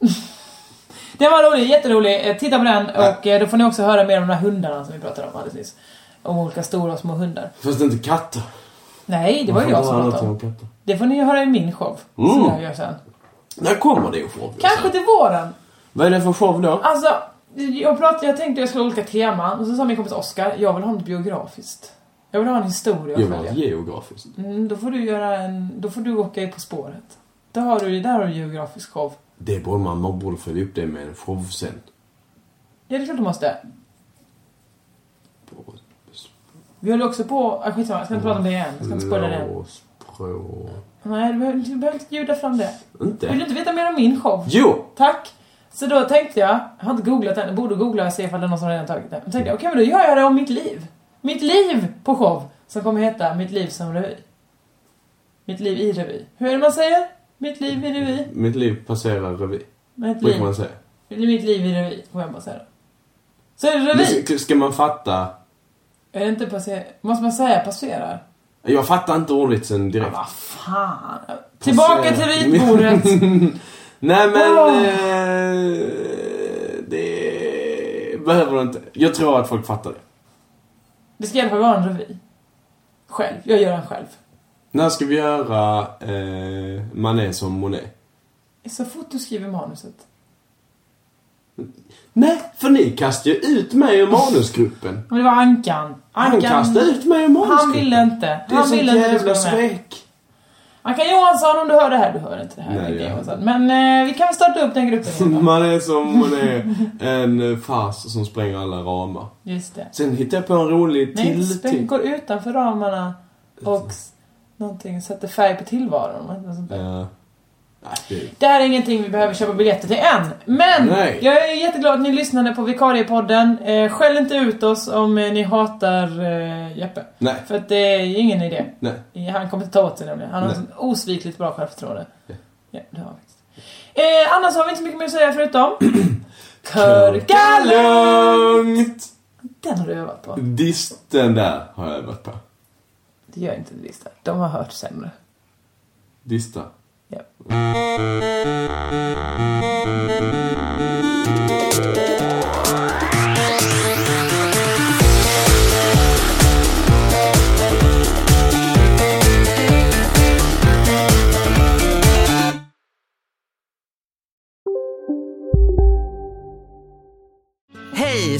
Speaker 6: Den var rolig, jätterolig. Eh, Titta på den och eh, då får ni också höra mer om de här hundarna som vi pratade om alldeles nyss. Om olika stora och små hundar.
Speaker 5: Fast inte katter.
Speaker 6: Nej, det var ju
Speaker 5: Varför
Speaker 6: jag som
Speaker 5: har han
Speaker 6: pratade om.
Speaker 5: någonting om katter?
Speaker 6: Det får ni ju höra i min show. Som
Speaker 5: Mm.
Speaker 6: jag gör sen.
Speaker 5: När kommer det show?
Speaker 6: Kanske till våren.
Speaker 5: Vad är det för show då?
Speaker 6: Alltså, jag, pratade, jag tänkte jag skulle ha olika teman. Och så sa min kompis Oskar, jag vill ha något biografiskt. Jag vill ha en historia att
Speaker 5: Jo,
Speaker 6: följa.
Speaker 5: geografiskt.
Speaker 6: Mm, då får du göra en... Då får du åka i På spåret. Där har du, där har du geografisk show.
Speaker 5: Det borde man, man borde följa upp det med en show sen.
Speaker 6: Ja, det är klart du måste. Vi höll också på... Ah, skitsamma, jag ska inte prata om det igen. Jag ska inte spoila det.
Speaker 5: Blåsprå.
Speaker 6: Nej, du behöver, du behöver inte ljuda fram det.
Speaker 5: Inte?
Speaker 6: Vill du inte veta mer om min show?
Speaker 5: Jo!
Speaker 6: Tack! Så då tänkte jag, jag har inte googlat den, jag borde googla och se ifall det är någon som redan tagit den. Då tänkte jag, okej men då gör jag det om mitt liv. Mitt liv på show! Som kommer heta Mitt liv som revy. Mitt liv i revy. Hur är det man säger? Mitt liv i revy.
Speaker 5: Mitt liv passerar revy.
Speaker 6: Mitt
Speaker 5: Brukar
Speaker 6: liv,
Speaker 5: man säga.
Speaker 6: mitt liv i revy, får jag bara säga. Så är det
Speaker 5: Men
Speaker 6: revy.
Speaker 5: ska- Ska man fatta?
Speaker 6: Är det inte passerar? Måste man säga passerar? Ah,
Speaker 5: Jag fattar inte ordvitsen direkt.
Speaker 6: Fan. Tillbaka till
Speaker 5: Passera.
Speaker 6: ritbordet.
Speaker 5: Nej men...
Speaker 6: Åh.
Speaker 5: Eh, det behöver du inte. Jag tror att folk fattar det.
Speaker 6: Det ska i alla fall vara en revy. Själv. Jag gör den själv.
Speaker 5: När ska vi göra eh, Mané som Monet?
Speaker 6: Så fort du skriver manuset.
Speaker 5: Nej, för ni kastar ju ut mig ur manusgruppen.
Speaker 6: Men det var Ankan.
Speaker 5: Han
Speaker 6: Ankan
Speaker 5: kastade ut mig ur manusgruppen.
Speaker 6: Han ville inte.
Speaker 5: Det är
Speaker 6: han
Speaker 5: sånt
Speaker 6: ville inte du
Speaker 5: jävla
Speaker 6: skulle vara med. Ankan Johansson, om du hör det här. Du hör inte det här.
Speaker 5: Nej,
Speaker 6: Ankan
Speaker 5: jag-
Speaker 6: Johansson. Men eh, vi kan väl starta upp den gruppen igen.
Speaker 5: Man är som man är en fars som spränger alla ramar.
Speaker 6: Just det.
Speaker 5: Sen hittar jag på en rolig
Speaker 6: Nej,
Speaker 5: till... till.
Speaker 6: späckor utanför ramarna och s- någonting sätter färg på tillvaron. eller något sånt där.
Speaker 5: Eh, nej, det-
Speaker 6: Det här är ingenting vi behöver köpa biljetter till än. Men
Speaker 5: Nej.
Speaker 6: jag är jätteglad att ni lyssnade på Vikariepodden. Eh, skäll inte ut oss om eh, ni hatar eh, Jeppe.
Speaker 5: Nej.
Speaker 6: För att det är ju ingen idé.
Speaker 5: Nej.
Speaker 6: Han kommer inte ta åt sig nämligen. Han har
Speaker 5: Nej.
Speaker 6: sånt osvikligt bra självförtroende. Ja, det har han faktiskt. Eh, annars har vi inte så mycket mer att säga förutom... Körka
Speaker 5: lugnt!
Speaker 6: Den har du övat på.
Speaker 5: Disten där har jag övat på.
Speaker 6: Det gör inte det visst. De har hört sämre.
Speaker 5: Dista.
Speaker 6: Ja.
Speaker 10: Hej,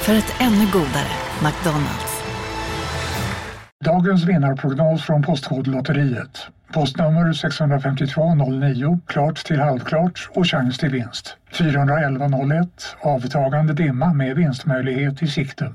Speaker 11: För ett ännu godare McDonalds.
Speaker 12: Dagens vinnarprognos från Postkodlotteriet. Postnummer 65209, klart till halvklart och chans till vinst. 41101, avtagande dimma med vinstmöjlighet i sikte.